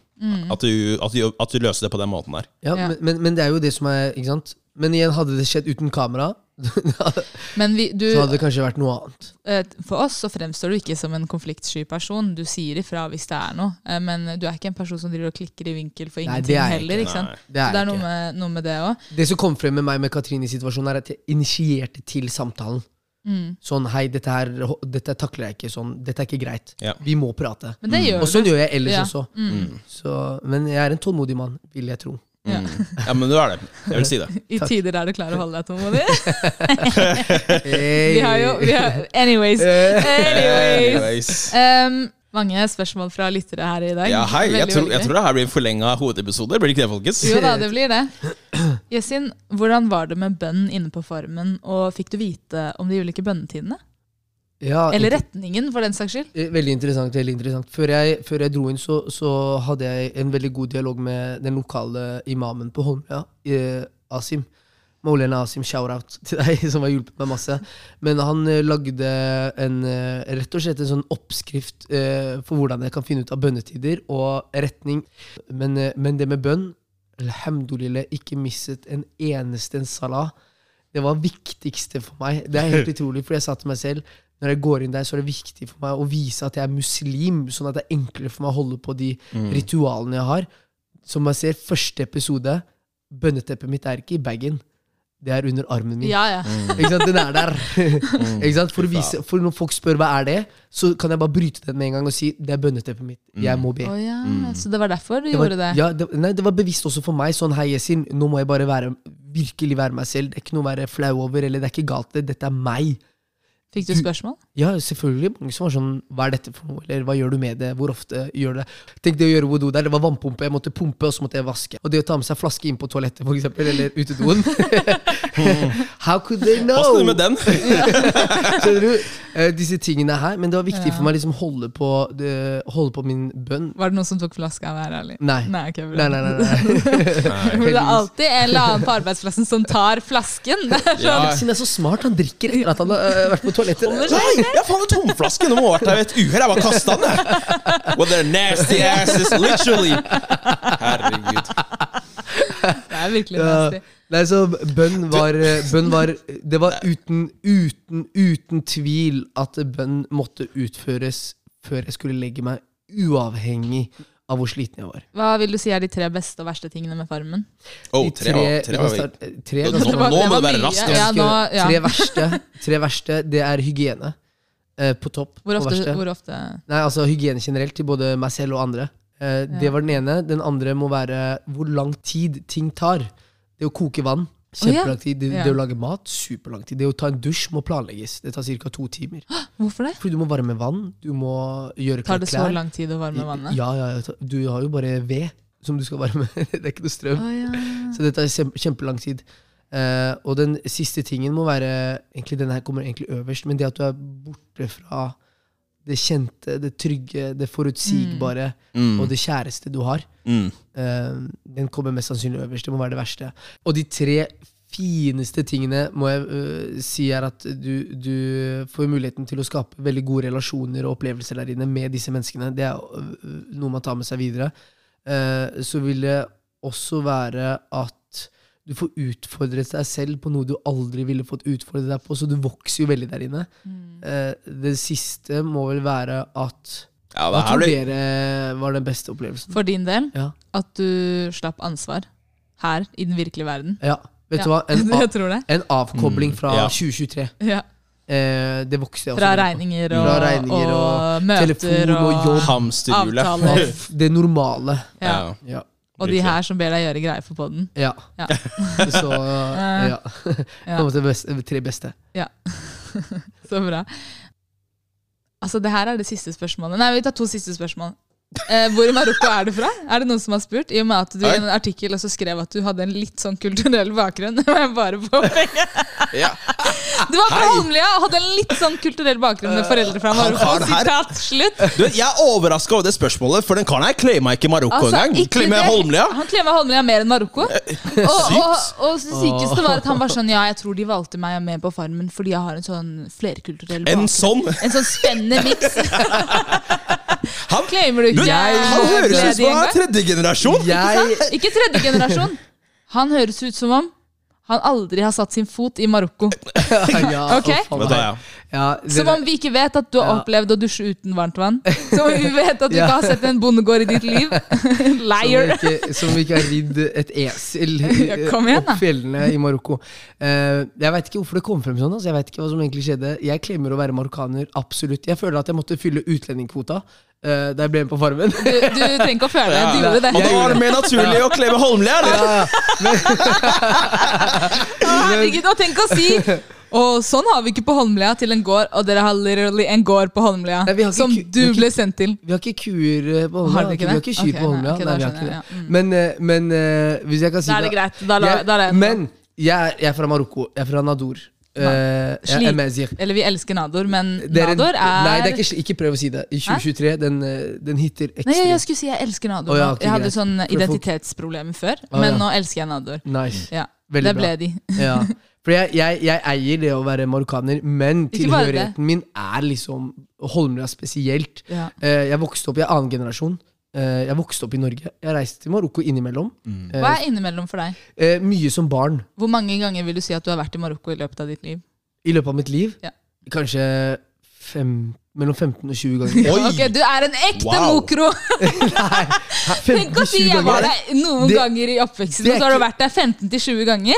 at, du, at, du, at du løser det på den måten der.
Ja,
Ja.
Men, men, men det er jo det som er ikke sant? Men igjen, hadde det skjedd uten kamera,
Men vi, du,
så hadde det kanskje vært noe annet.
eh, for oss så fremstår du ikke som en konfliktsky person. Du sier ifra hvis det er noe, eh, men du er ikke en person som driver og klikker i vinkel for
Nei,
ingenting
det er jeg
heller.
ikke.
Ikke sant? Så
Det er
det
det
er noe
ikke.
med, noe med det òg.
Det som kom frem med meg med Katrine i situasjonen, er at jeg initierte til samtalen.
Mm.
Sånn hei, dette her dette takler jeg ikke sånn. Dette er ikke greit.
Ja.
Vi må prate.
Men det gjør
Og sånn
du.
gjør jeg ellers
Ja.
også.
Mm.
Så, men jeg er en tålmodig mann, vil jeg tro.
Ja.
Ja, men du er det. Jeg vil si det.
I
Takk.
tider der du klarer å holde deg tålmodig.
Hey.
Vi har jo vi har, Anyways. anyways.
Anyways.
Em, mange spørsmål fra lyttere her i dag.
Ja, hei. Jeg
Veldig,
tror,
veldig.
jeg tror det her blir en forlenga hovedepisode. Blir det ikke det, folkens?
Jo da, det blir det. Yasin, hvordan var det med bønn inne på farmen, og fikk du vite om de ulike bønnetidene?
Ja,
Eller retningen, for den saks skyld?
Eh, Veldig interessant. veldig interessant. Før jeg, før jeg dro inn, så, så hadde jeg en veldig god dialog med den lokale imamen på Holmlia, eh, Asim. Maulena Asim, shout-out til deg, som har hjulpet meg masse. Men han eh, lagde en, eh, rett og slett en sånn oppskrift eh, for hvordan jeg kan finne ut av bønnetider og retning. Men, eh, men det med bønn Alhamdulillah, ikke misset en eneste en salah. Det var viktigste for meg. Det er helt utrolig, for jeg sa til meg selv når jeg går inn der, så er det viktig for meg å vise at jeg er muslim, sånn at det er enklere for meg å holde på de
Mm.
ritualene jeg har. Som man ser, første episode Bønneteppet mitt er ikke i bagen. Det er under armen min.
Ja, ja.
Ikke sant? Den er der. ikke sant? For, å vise, for når folk spør hva er det så kan jeg bare bryte den med en gang og si det er bønneteppet mitt. Jeg må be.
Å ja. Så det var derfor du
var,
gjorde det?
Ja, Mm. det, nei, det var bevisst også for meg. Sånn, hei, Yesin, nå må jeg bare være, virkelig være meg selv. Det er ikke noe å være flau over, eller det er ikke galt. det. Dette er meg.
Fikk du spørsmål?
Ja, selvfølgelig. Mange som var sånn Hva er dette for noe? Eller hva gjør du med det? Hvor ofte gjør du det? Tenk det å gjøre wodo der. Det var vannpumpe. Jeg måtte pumpe, og så måtte jeg vaske. Og det å ta med seg flaske inn på toalettet, for eksempel, eller utedoen. How could they know?
Pass deg med den.
Skjønner du? Eh, disse tingene her. Men det var viktig
Ja.
for meg å liksom holde på, det, holde på min bønn.
Var det noen som tok flaska av her, ærlig?
Nei.
Nei, ok, bra.
Nei, nei, nei. nei.
For Det er alltid en eller annen på arbeidsplassen som tar flasken. Det er
Ja.
sånn,
Siden jeg er så smart, han drikker etter at han har eh, vært på toalettet.
Nei, jeg har faen meg tomflaske! Nå må ha vært her ved et uhell. Jeg bare kasta den, jeg. With their nasty asses, literally. Herregud.
det er virkelig
Ja.
nasty.
Nei, så bønn var, eh, bønn var Det var uten, uten, uten tvil at bønn måtte utføres før jeg skulle legge meg, uavhengig av hvor sliten jeg var.
Hva vil du si er de tre beste og verste tingene med Farmen?
Oh,
De
tre, var-
vi
tre,
kan
var-
starte- eh, tre
Nå-
ganske
nå-
mange.
nå
det
må
var
du være altså.
mye.
rask, ass.
Ja, nå, ja.
Tre verste, tre verste, det er hygiene eh, på topp.
Hvor
og verste.
ofte, hvor ofte?
Nei, altså hygiene generelt til både meg selv og andre.
Ja.
Eh, Det var den ene. Den andre må være hvor lang tid ting tar. Det å koke vann.
ja.
Kjempelang tid. Det,
Ja.
det å lage mat. Superlang tid. Det å ta en dusj må planlegges. Det tar ca. to timer.
Hvorfor det?
Fordi du må varme vann. Du må gjøre
Tar
klart
det så lang tid å varme vannet?
Ja, ja, ja. Du har jo bare ved. som du skal varme. det er ikke noe strøm.
Å, ja.
Mm. Så det tar kjempe, kjempelang tid. Eh, og den siste tingen må være egentlig, Den her kommer egentlig øverst, men det at du er borte fra det kjente, det trygge, det forutsigbare
Mm.
og det kjæreste du har.
Mm.
Eh, den kommer mest sannsynlig øverst. Det må være det verste. Og de tre fineste tingene må jeg eh, si er at du, du får muligheten til å skape veldig gode relasjoner og opplevelser der inne med disse menneskene. Det er eh, noe man tar med seg videre. Eh, så vil det også være at du får utfordret deg selv på noe du aldri ville fått utfordret deg på, så du vokser jo veldig der inne. Eh, det siste må vel være at
Ja, det
Hva
her
tror
blir
dere var den beste opplevelsen?
For din del,
Ja.
at du slapp ansvar her i den virkelige verden.
Ja, vet
Ja.
du hva? En,
Jeg
av,
tror det.
en avkobling fra
Mm, ja.
2023.
Ja.
Eh, det vokste jeg også.
Fra
med på.
regninger og,
Fra regninger og
møter
telefon og jobb.
hamsterhjulet.
avtaler.
Ja.
Av Det normale.
Ja.
Ja.
Og de her som ber deg gjøre greier for poden.
ja.
Ja. Eh.
Så ja.
Ja.
På en måte best- tre beste.
Så bra. Altså, det her er det siste spørsmålet. Nei, vi tar to siste spørsmål. Eh, hvor i Marokko er du fra? Er det noen som har spurt? I og med at du i en artikkel også skrev at du hadde en litt sånn kulturell bakgrunn. Det må jeg bare påpeke.
Ja.
Du var fra
Hei!
Holmlia og hadde en litt sånn kulturell bakgrunn med foreldre fra
Eh, han
Marokko.
har det her.
Sitat slutt.
Du, vet, jeg er overraska over det spørsmålet, for den karen her claima ikke Marokko engang.
Altså, ikke
Claimer
det.
jeg Holmlia? Eh,
Han klemmer Holmlia mer enn Marokko. Og, og, og det sykeste var at han var sånn Ja, jeg tror de valgte meg med på Farmen fordi jeg har en sånn flerkulturell
En
bakgrunn.
sånn?
En sånn spennende miks.
Han,
Claimer du
du,
ikke er
han høres ut
gledig
som han er
engang?
tredje generasjon!
Jeg
Ikke tredje generasjon. Han høres ut som om han aldri har satt sin fot i Marokko.
ja,
Ok.
å, faen
Vet du hva,
meg.
ja.
Ja,
Som om vi ikke vet at du har
Ja.
opplevd å dusje uten varmt vann. Som om vi vet at du
Ja.
ikke har sett en bondegård i ditt liv.
Som
Liar.
ikke, som ikke har ridd et esel eh,
Kom igjen, da.
opp fjellene i Marokko. Eh, jeg veit ikke hvorfor det kom frem sånn. Altså. Jeg vet ikke hva som egentlig skjedde Jeg klemmer å være marokkaner, absolutt. Jeg føler at jeg måtte fylle utlendingkvota eh, da jeg ble med på Farmen.
Du, du trenger ikke å føle det. Du
Ja.
gjorde det.
Og da var det mer naturlig å claime Holmlia, eller?
Herregud, og tenk å si Og sånn har vi ikke på Holmlia til en gård, og dere har literally en gård på Holmlia
Nei, vi har ikke
som
ku- vi
du
har ikke-
ble sendt til.
Vi har ikke kuer eh, på Holmlia.
Har dere ikke
vi har
det?
ikke kyr
Ok,
på
nei,
Holmlia.
ok, da
Nei, vi har
skjønner
ikke det.
jeg, ja. Mm.
Men, eh, men eh, hvis jeg kan si
Da er det greit. Da la,
Jeg-
da er det
Men jeg, jeg er fra Marokko. Jeg er fra Nador. Eh, jeg
Slik.
er Mazir.
Eller vi elsker Nador, men
Dere-
Nador er
Nei, det er ikke, sli- ikke prøv å si det. I 2023, den, eh, den hitter
Nei, jeg,
ekstremt.
skulle si jeg elsker Nador.
Å, ja,
nå.
ok,
jeg hadde
greit.
sånn
For folk-
identitetsproblemer før,
Å,
men
ja.
nå elsker jeg Nador.
Nice.
Ja.
Veldig
Det
bra.
ble de.
Ja. For jeg, jeg, jeg eier det å være marokkaner, men
Ikke bare det.
tilhørigheten min er liksom Holmlia spesielt.
Ja.
Eh, jeg vokste opp, jeg er annen generasjon. Eh, jeg vokste opp i Norge. Jeg reiste til Marokko innimellom.
Mm. Hva er innimellom for deg?
Eh, mye som barn.
Hvor mange ganger vil du si at du har vært i Marokko i løpet av ditt liv?
I løpet av mitt liv
Ja.
kanskje fem, mellom 15 og 20 ganger.
Oi!
Ok, Du er en ekte
Wow.
mokro!
Nei,
Tenk å si
15-20
jeg var
ganger.
der noen
Det-
ganger i oppveksten,
det er
og så har du
ikke-
vært der 15-20 ganger.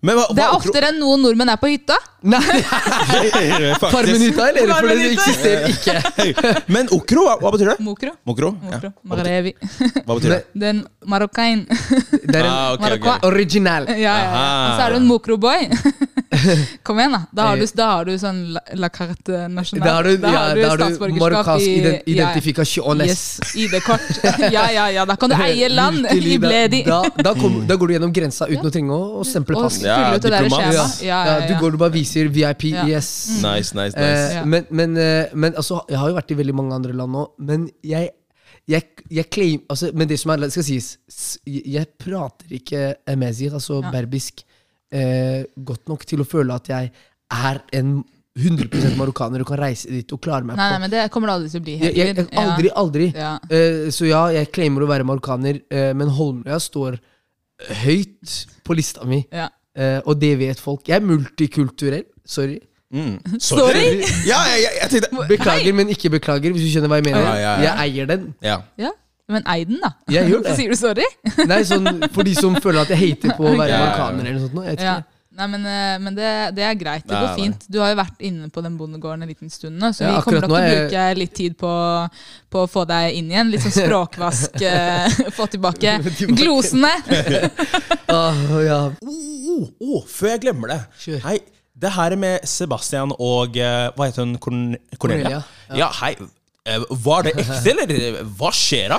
Men hva,
Det
hva-
er oftere enn noen nordmenn er på hytta.
Nei,
Faktisk.
Farmenhytta, eller? For den
Farmenhytta.
eksisterer ikke.
Men okro, hva, hva betyr det?
Mokro.
Mokro?
Mokro.
Ja. Hva betyr,
Maghrebi.
hva betyr det?
Den marokkain.
Det er en
Ah, ok, ok.
Marokko.
original.
Ja, ja, ja.
Aha.
Og så er du en mokro-boy. Kom igjen, da. Da har du, da har du sånn la, la carte national.
Eh. Da har du, ja, da har du
statsborgerskap
marokkansk
i-
ident-
ja, ja.
identifikasjones.
Yes, ID-kort. Ja, ja, ja. Da kan du eie land i
Virkelig, da-
Bledi.
Da, da,
Mm.
kommer- da går du gjennom grensa uten å trenge å, å stemple
Og
pass.
fylle ut det der
diplomat.
skjemaet. Ja, ja, ja,
Du går du bare viser VIP,
Ja. Mm.
yes.
Nice, nice, nice.
Eh,
Ja.
Men, men, eh, men altså, jeg har jo vært i veldig mange andre land nå, men jeg jeg, jeg claim, altså, men det som er, det skal sies, s- jeg prater ikke amazir, altså
Ja.
berbisk, eh, godt nok til å føle at jeg er en 100 marokkaner og kan reise dit og klare meg
Nei, nei,
på.
men det kommer du aldri til å bli.
Jeg, jeg, jeg,
Ja.
aldri, aldri.
Ja.
Eh, så ja, jeg claimer å være marokkaner, eh, men Holmlia står høyt på lista mi.
Ja.
Eh, og det vet folk. Jeg er multikulturell. Sorry.
Mm.
Eh, Sorry.
Ja, jeg, jeg, jeg tenkte
Beklager, men ikke beklager, hvis du skjønner hva jeg mener.
Ja, ja, ja.
Jeg eier den.
Ja.
ja. Men ei den, da.
Jeg gjør
Hvorfor
det.
sier du sorry?
Nei, sånn For de som føler at jeg hater på å være
Ja, ja, ja.
marokkaner eller noe sånt. nå, Jeg vet
Ja.
ikke.
Nei, men, eh, men det, det er greit. Det
Nei,
går
nei.
fint. Du har jo vært inne på den bondegården en liten stund nå, så
Ja,
vi kommer
akkurat
nok til å
nå er jeg-
bruke litt tid på, på å få deg inn igjen. Litt sånn språkvask. eh, få tilbake glosene.
Åh, ja.
Oh, oh, før jeg glemmer det.
Kjør.
Hei, det her med Sebastian og eh, Hva heter hun? Corn Cornelia?
Cornelia,
Ja. hei. eh, Var det ekte, eller hva skjer da?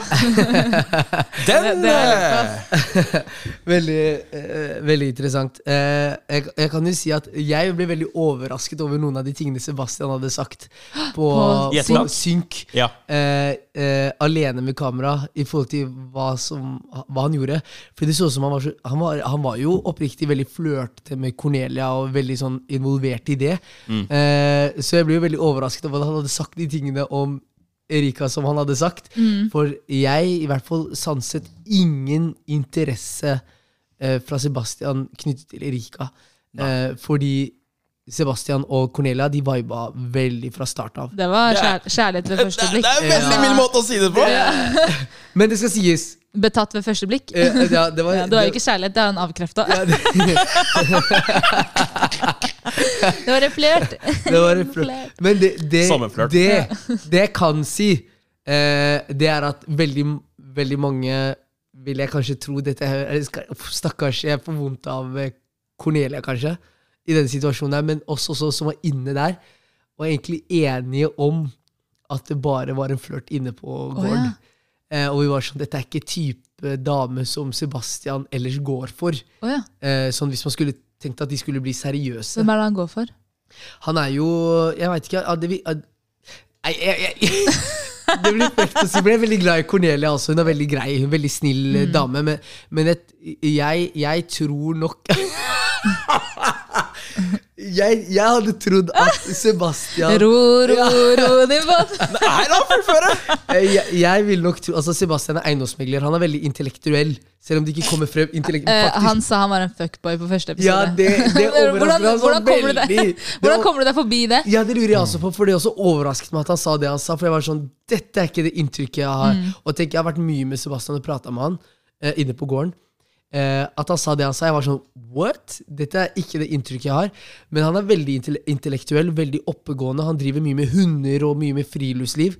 Den
Det- det er
eh,
Veldig, eh, veldig interessant. Eh, jeg, jeg kan jo si at jeg ble veldig overrasket over noen av de tingene Sebastian hadde sagt på,
På
I etterkant?
Synk.
Ja.
Eh, eh, alene med kamera i forhold til hva, som, hva han gjorde. For det så ut som han var, så, han, var, han var jo oppriktig veldig flørtete med Cornelia og veldig sånn involvert i det. Eh, så jeg ble jo veldig overrasket over at han hadde sagt de tingene om Erika som han hadde sagt. For jeg i hvert fall sanset ingen interesse eh, fra Sebastian knyttet til Erika. Eh, fordi Sebastian og Cornelia de viba veldig fra start av.
Det var
Det er-
kjær kjærlighet ved
Det,
første
det
blikk.
er en veldig
Ja.
mild måte å si det på!
Men det skal sies.
Betatt ved første blikk.
Eh, ja, det var,
Ja, det var jo ikke kjærlighet, det har han avkrefta. Det var en flørt.
det var en flørt. Men det, det,
Samme flørt.
det, det jeg kan si, eh, det er at veldig, veldig mange vil jeg kanskje tro dette her- eller skal- uff, Stakkars, jeg får vondt av eh, Cornelia, kanskje, i denne situasjonen der, men oss også som var inne der, var egentlig enige om at det bare var en flørt inne på gården.
ja.
Eh, og vi var sånn, dette er ikke type dame som Sebastian ellers går for.
Å ja.
Eh, sånn hvis man skulle tenkt at de skulle bli seriøse.
Hvem er det han går for?
Han er jo Jeg veit ikke ja, det, vi- ja, Nei, jeg, jeg, det blir frekt å si, men jeg er veldig glad i Cornelia. Altså. Hun er veldig grei, hun er veldig snill
Mm.
eh, dame. Men, men et, jeg, jeg tror nok jeg, jeg hadde trodd at Sebastian
Ro, ro, ro din båt.
Nei, la meg fullføre!
Eh, jeg, jeg vil nok tro Altså Sebastian er eiendomsmegler. Han er veldig intellektuell. Selv om det ikke kommer frem intellekt,
Eh,
faktisk.
han sa han var en fuckboy på første episode.
Ja, det- det overrasker
hvordan,
meg så
hvordan kommer du
veldig.
deg-
Det
hvordan
var-
kommer du deg forbi det?
Ja, det lurer jeg også på, for det også overrasket meg at han sa det han sa. For jeg var sånn, dette er ikke det inntrykket jeg har. Og tenk, jeg har vært mye med Sebastian og prata med han eh, inne på gården. Eh, at han sa det han sa. Jeg var sånn, what? Dette er ikke det inntrykket jeg har. Men han er veldig intell intellektuell, veldig oppegående. Han driver mye med hunder og mye med friluftsliv.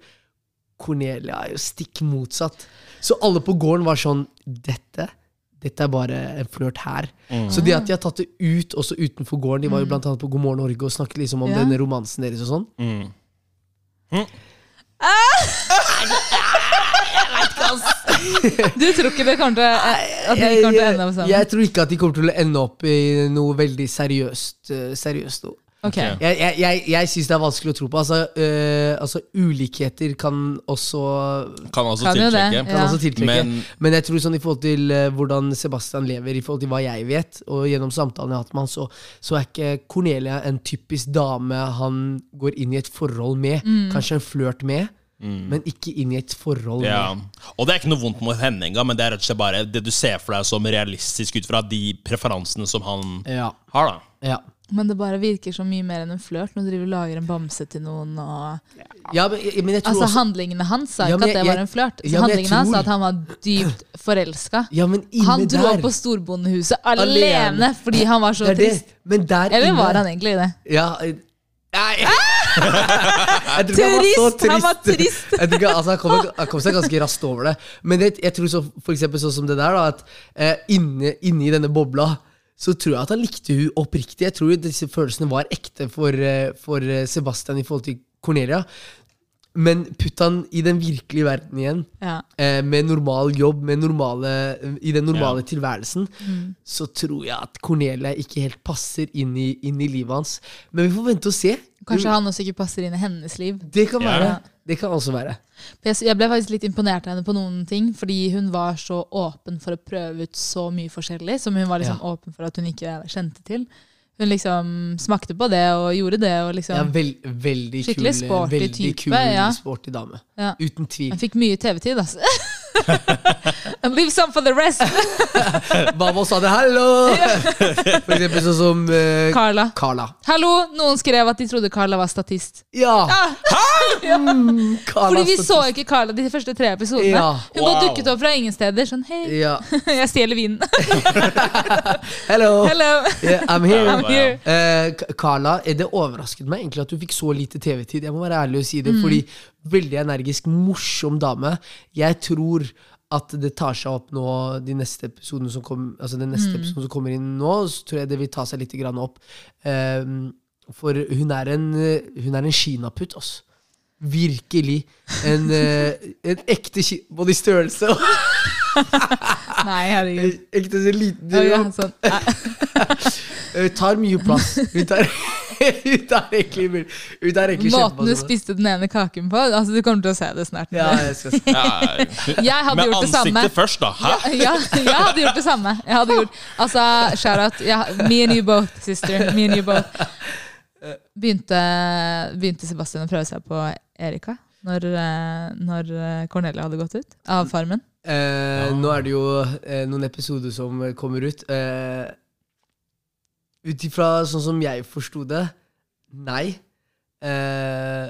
Cornelia er jo stikk motsatt. Så alle på gården var sånn Dette dette er bare en flørt her. Så det at de har tatt det ut også utenfor gården De var jo blant annet på God morgen Norge og snakket liksom om
Mm. Ja.
denne romansen deres og sånn.
Du tror ikke det kommer til at de
Jeg,
kommer til å ende sånn.
jeg,
opp sammen?
jeg tror ikke at de kommer til å ende opp i noe veldig seriøst. eh, seriøst noe.
Ok.
Ok.
Jeg, jeg, jeg, jeg syns det er vanskelig å tro på. Altså, eh, altså ulikheter kan også
Kan altså
Kan jo det,
tiltrekke.
kan
Ja.
også tiltrekke. Men,
Men-
jeg tror sånn i forhold til eh, hvordan Sebastian lever, i forhold til hva jeg vet, og gjennom samtalen jeg har hatt med han, så, så er ikke Cornelia en typisk dame han går inn i et forhold med.
Mm.
Kanskje en flørt med, men ikke inn i et forhold
Ja.
med.
Og det er ikke noe vondt mot henne engang, men det er rett og slett bare det du ser for deg som realistisk ut fra de preferansene som han
Ja,
har, da.
ja.
Men det bare virker så mye mer enn en flørt når du driver og lager en bamse til noen. Og...
ja men, jeg- men jeg tror
Altså
også
Handlingene hans sa
Ja,
ikke
men
at det
jeg-
var en flørt.
Ja, men jeg
handlingene hans
tror-
sa at han var dypt forelska.
Ja, men inne
Han dro
der
opp på storbondehuset alene,
Alene.
fordi han var så
Det er det.
trist.
Men der
Eller
inne
var han egentlig det?
Ja eh, Nei! Jeg tror ikke
Turist! Han var Ah! trist.
Jeg tror ikke, altså, han, kom, han kom seg ganske raskt over det. Men det, jeg tror så, for eksempel sånn som det der, da, at eh, inne, inne i denne bobla så tror jeg at han likte hun oppriktig. Jeg tror jo disse følelsene var ekte for, eh, for eh, Sebastian i forhold til Cornelia. Men putt han i den virkelige verden igjen,
Ja.
eh, med normal jobb, med normale, i den normale
Ja.
tilværelsen,
Mm.
så tror jeg at Cornelia ikke helt passer inn i, inn i livet hans. Men vi får vente og se.
Kanskje han også ikke passer inn i hennes liv.
Det kan
Ja.
være. Det kan også være.
For Jeg, jeg ble faktisk litt imponert av henne på noen ting, fordi hun var så åpen for å prøve ut så mye forskjellig, som hun var liksom
Ja.
åpen for at hun ikke kjente til. Hun liksom smakte på det og gjorde det. og
Ja,
liksom...
vel, veldig
Skikkelig
kul,
sporty
veldig
type,
kul
ja.
sporty dame.
Ja.
Uten tvil.
Hun fikk mye TV-tid, altså. And leave some for the rest,
Babo sa det, hallo! For eksempel sånn som eh,
Carla.
Carla.
Hallo, noen skrev at de trodde Carla var statist.
Ja! Mm, Carla
Fordi vi
stod-
så jo ikke Carla de første tre episodene.
Ja.
Hun bare
Wow.
dukket opp fra ingen steder. Sånn, hei,
Ja.
jeg stjeler vinen.
Hello!
Hello.
Yeah, I'm here.
I'm here.
Eh, K- Carla, eh, det overrasket meg egentlig at du fikk så lite TV-tid. Jeg må være ærlig og si
Mm.
det, fordi veldig energisk, morsom dame. Jeg tror at det tar seg opp nå, de neste episodene som, kom, altså den
Mm.
neste episoden som kommer inn nå, så tror jeg det vil ta seg litt Ehm, grann opp. Eh, for hun er en, eh, hun er en kinaputt, altså. virkelig en, eh, en ekte ki... Både i størrelse og
Nei, herregud.
ekte så liten
Ja, ja, sånn. Nei.
Hun Eh, tar mye plass. Hun tar, hun tar egentlig, hun tar egentlig
Måten du
kjempeplass.
spiste den ene kaken på altså Du kommer til å se det snart.
Ja, jeg skal si.
Jeg hadde
Med
gjort det samme.
ansiktet først, da. Hæ?
Ja, jeg hadde gjort det samme. Jeg hadde gjort, altså, shout out. Ja, me and you both, sister. Me and you both. Begynte, begynte Sebastian å prøve seg på Erika når, eh, når eh, Cornelia hadde gått ut av Farmen?
Eh, Nå er det jo eh, noen episoder som eh, kommer ut. Eh, Ut ifra sånn som jeg forsto det, nei. Eh,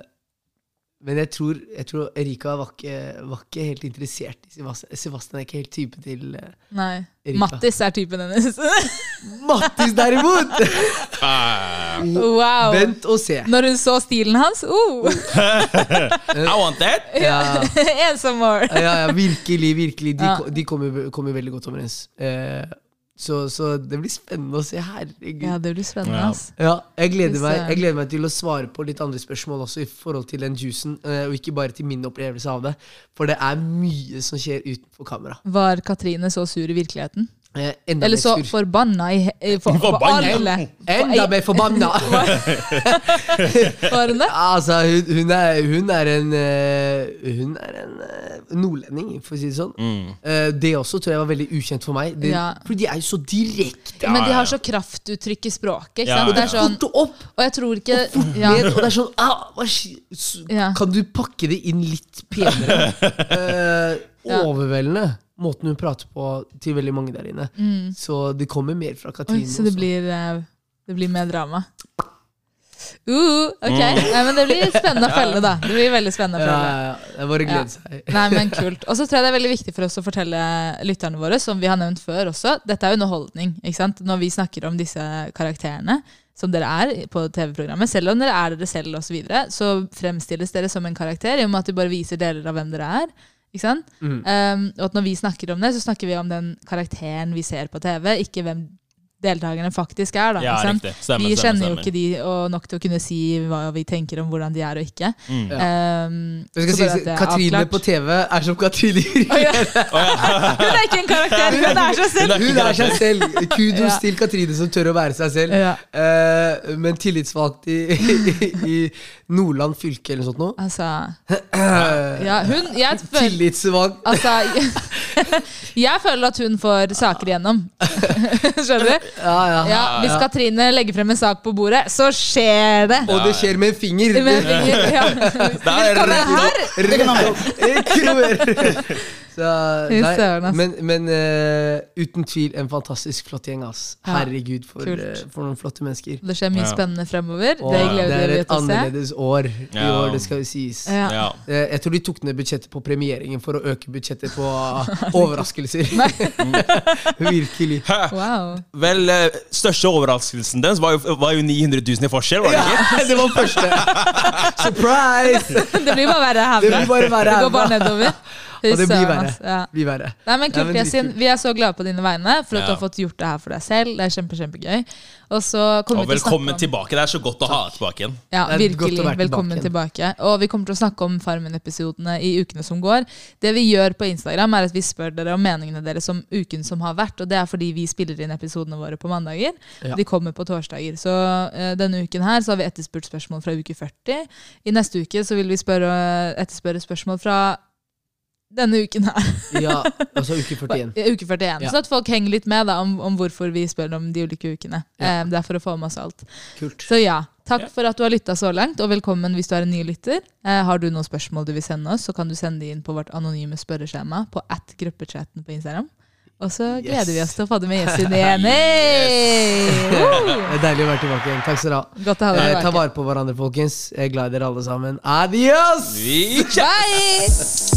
men jeg tror, jeg tror Erika var ikke, var ikke helt interessert i Sebastian. Sebastian er ikke helt typen til eh,
Nei.
Erika.
Mattis er typen hennes.
Mattis, derimot!
Eh,
Wow!
Vent og se.
Når hun så stilen hans oh,
I want that!
Ja.
And some more!
ja, ja, virkelig, virkelig. De,
Ja.
ko- de kommer, kommer veldig godt overens. Eh, så, så det blir spennende å se. Herregud.
Ja,
Ja.
det blir spennende.
Ja.
ass.
jeg, gleder
Hvis,
meg,
eh,
jeg gleder meg til å svare på litt andre spørsmål også i forhold til den juicen, eh, og ikke bare til min opplevelse av det. For det er mye som skjer utenfor kamera.
Var Katrine så sur i virkeligheten?
Eh, enda
Eller
mer
så
sur.
forbanna i, he- for, for
Forbanna?
alle?
Enda mer forbanna!
Var hun det?
altså, hun, hun, er, hun er en eh, Hun er en eh, nordlending, for å si det sånn. Eh, det også tror jeg var veldig ukjent for meg. Det,
Ja.
For de er jo så direkte.
Men de
ja, ja.
har så kraftuttrykk i språket. Ikke
Ja,
sant?
ja,
Det er sånn,
Fort og opp!
og jeg tror ikke ja,
ned, og det er sånn ah, hva, skj- s-
Ja.
Kan du pakke det inn litt penere? Eh,
Ja.
overveldende måten hun prater på til veldig mange der inne. Så det kommer mer fra
Mm. Oi,
Katrine.
Så det
også.
blir, eh, det blir mer drama. Uh, ok, Nei, men Det blir spennende å følge, da. Det blir veldig spennende å
Mm. ja,
følge.
ja, ja. det er bare å glede seg.
Nei, men kult. Og så tror jeg det er veldig viktig for oss å fortelle lytterne våre, som vi har nevnt før også, dette er jo underholdning. ikke sant? Når vi snakker om disse karakterene som dere er på TV-programmet, selv om dere er dere selv osv., så, videre, så fremstilles dere som en karakter i og med at de bare viser deler av hvem dere er. ikke sant?
Mm.
Um, og at når vi snakker om det, så snakker vi om den karakteren vi ser på TV, ikke hvem deltakerne faktisk er. da,
Ja,
ikke sant?
riktig. Stemmer,
vi
stemmer,
kjenner jo
stemmer.
ikke de og nok til å kunne si hva vi tenker om hvordan de er og ikke.
Mm.
Um,
Jeg skal
så bare
si,
at det er
Katrine
avklart.
på TV er som Katrine.
Å, ja. Hun er ikke en karakter, hun er seg selv.
Hun er seg selv. Kudos
Ja.
til Katrine som tør å være seg selv.
Ja.
Eh, men tillitsvalgt i, i, i Nordland fylke eller noe sånt nå.
Altså,
Eh,
ja, hun, jeg, føler,
Tillitsvalgt
altså, jeg føler at hun får saker igjennom. Skjønner du?
Ja, Ah, ja.
Ja, hvis Katrine legger frem en sak på bordet, så skjer det!
Og det skjer med en finger.
Med en finger, ja.
Der er det
Velkommen her!
Så,
Fy
nei,
søren, ass.
men men eh, uten tvil en fantastisk flott gjeng. ass
Ja.
Herregud, for,
Kult.
eh, for noen flotte mennesker.
Det skjer mye
Ja.
spennende fremover.
Og
Det gleder
det
vi oss
er et
til å se.
annerledes år i
Ja.
år, det skal jo sies.
Ja.
Ja.
Eh, Jeg tror de tok ned budsjettet på premieringen for å øke budsjettet på overraskelser. Virkelig.
Wow.
Vel, eh, største overraskelsen dens var jo, var jo 900 000 i forskjell, var det ikke?
Det var første. Surprise!
Det blir bare verre
Det blir
herfra.
bare verre.
Det går bare
herfra.
nedover. Fy
Og det blir
søren,
verre.
ass. Ja.
Blir verre.
Nei, men
Nei,
kult,
men
Yasin. Vi er så glade på dine vegne for at du har
Ja.
fått gjort det her for deg selv. Det er kjempe, kjempegøy. Og så kommer
Og
vi til å snakke
velkommen
om
tilbake. Det er så godt å ha deg tilbake igjen.
Ja,
Det
virkelig.
er godt å være tilbake
Velkommen
igjen.
tilbake. Og vi kommer til å snakke om Farmen-episodene i ukene som går. Det vi gjør på Instagram, er at vi spør dere om meningene deres om uken som har vært. Og det er fordi vi spiller inn episodene våre på mandager.
Ja.
De kommer på torsdager. Så eh, denne uken her så har vi etterspurt spørsmål fra uke 40. I neste uke så vil vi spørre, etterspørre spørsmål fra denne uken her.
Ja, altså uke 41.
Ja, Uke 41.
Ja.
Så at folk henger litt med da, om, om hvorfor vi spør om de ulike ukene.
Ja.
Eh, det er for å få med oss alt.
Kult.
Så ja, takk for at du har lytta så langt, og velkommen hvis du er en ny lytter. Eh, har du noen spørsmål du vil sende oss, så kan du sende de inn på vårt anonyme spørreskjema på at gruppechatten på Instagram. Og så gleder vi oss til å få det med Jessin igjen. Hey!
Det er deilig å være tilbake igjen. Takk skal dere ha.
Godt å ha
Eh,
deg
Ta
tilbake.
vare på hverandre, folkens. Jeg er glad i dere alle sammen. Adios!
Vi
Bye!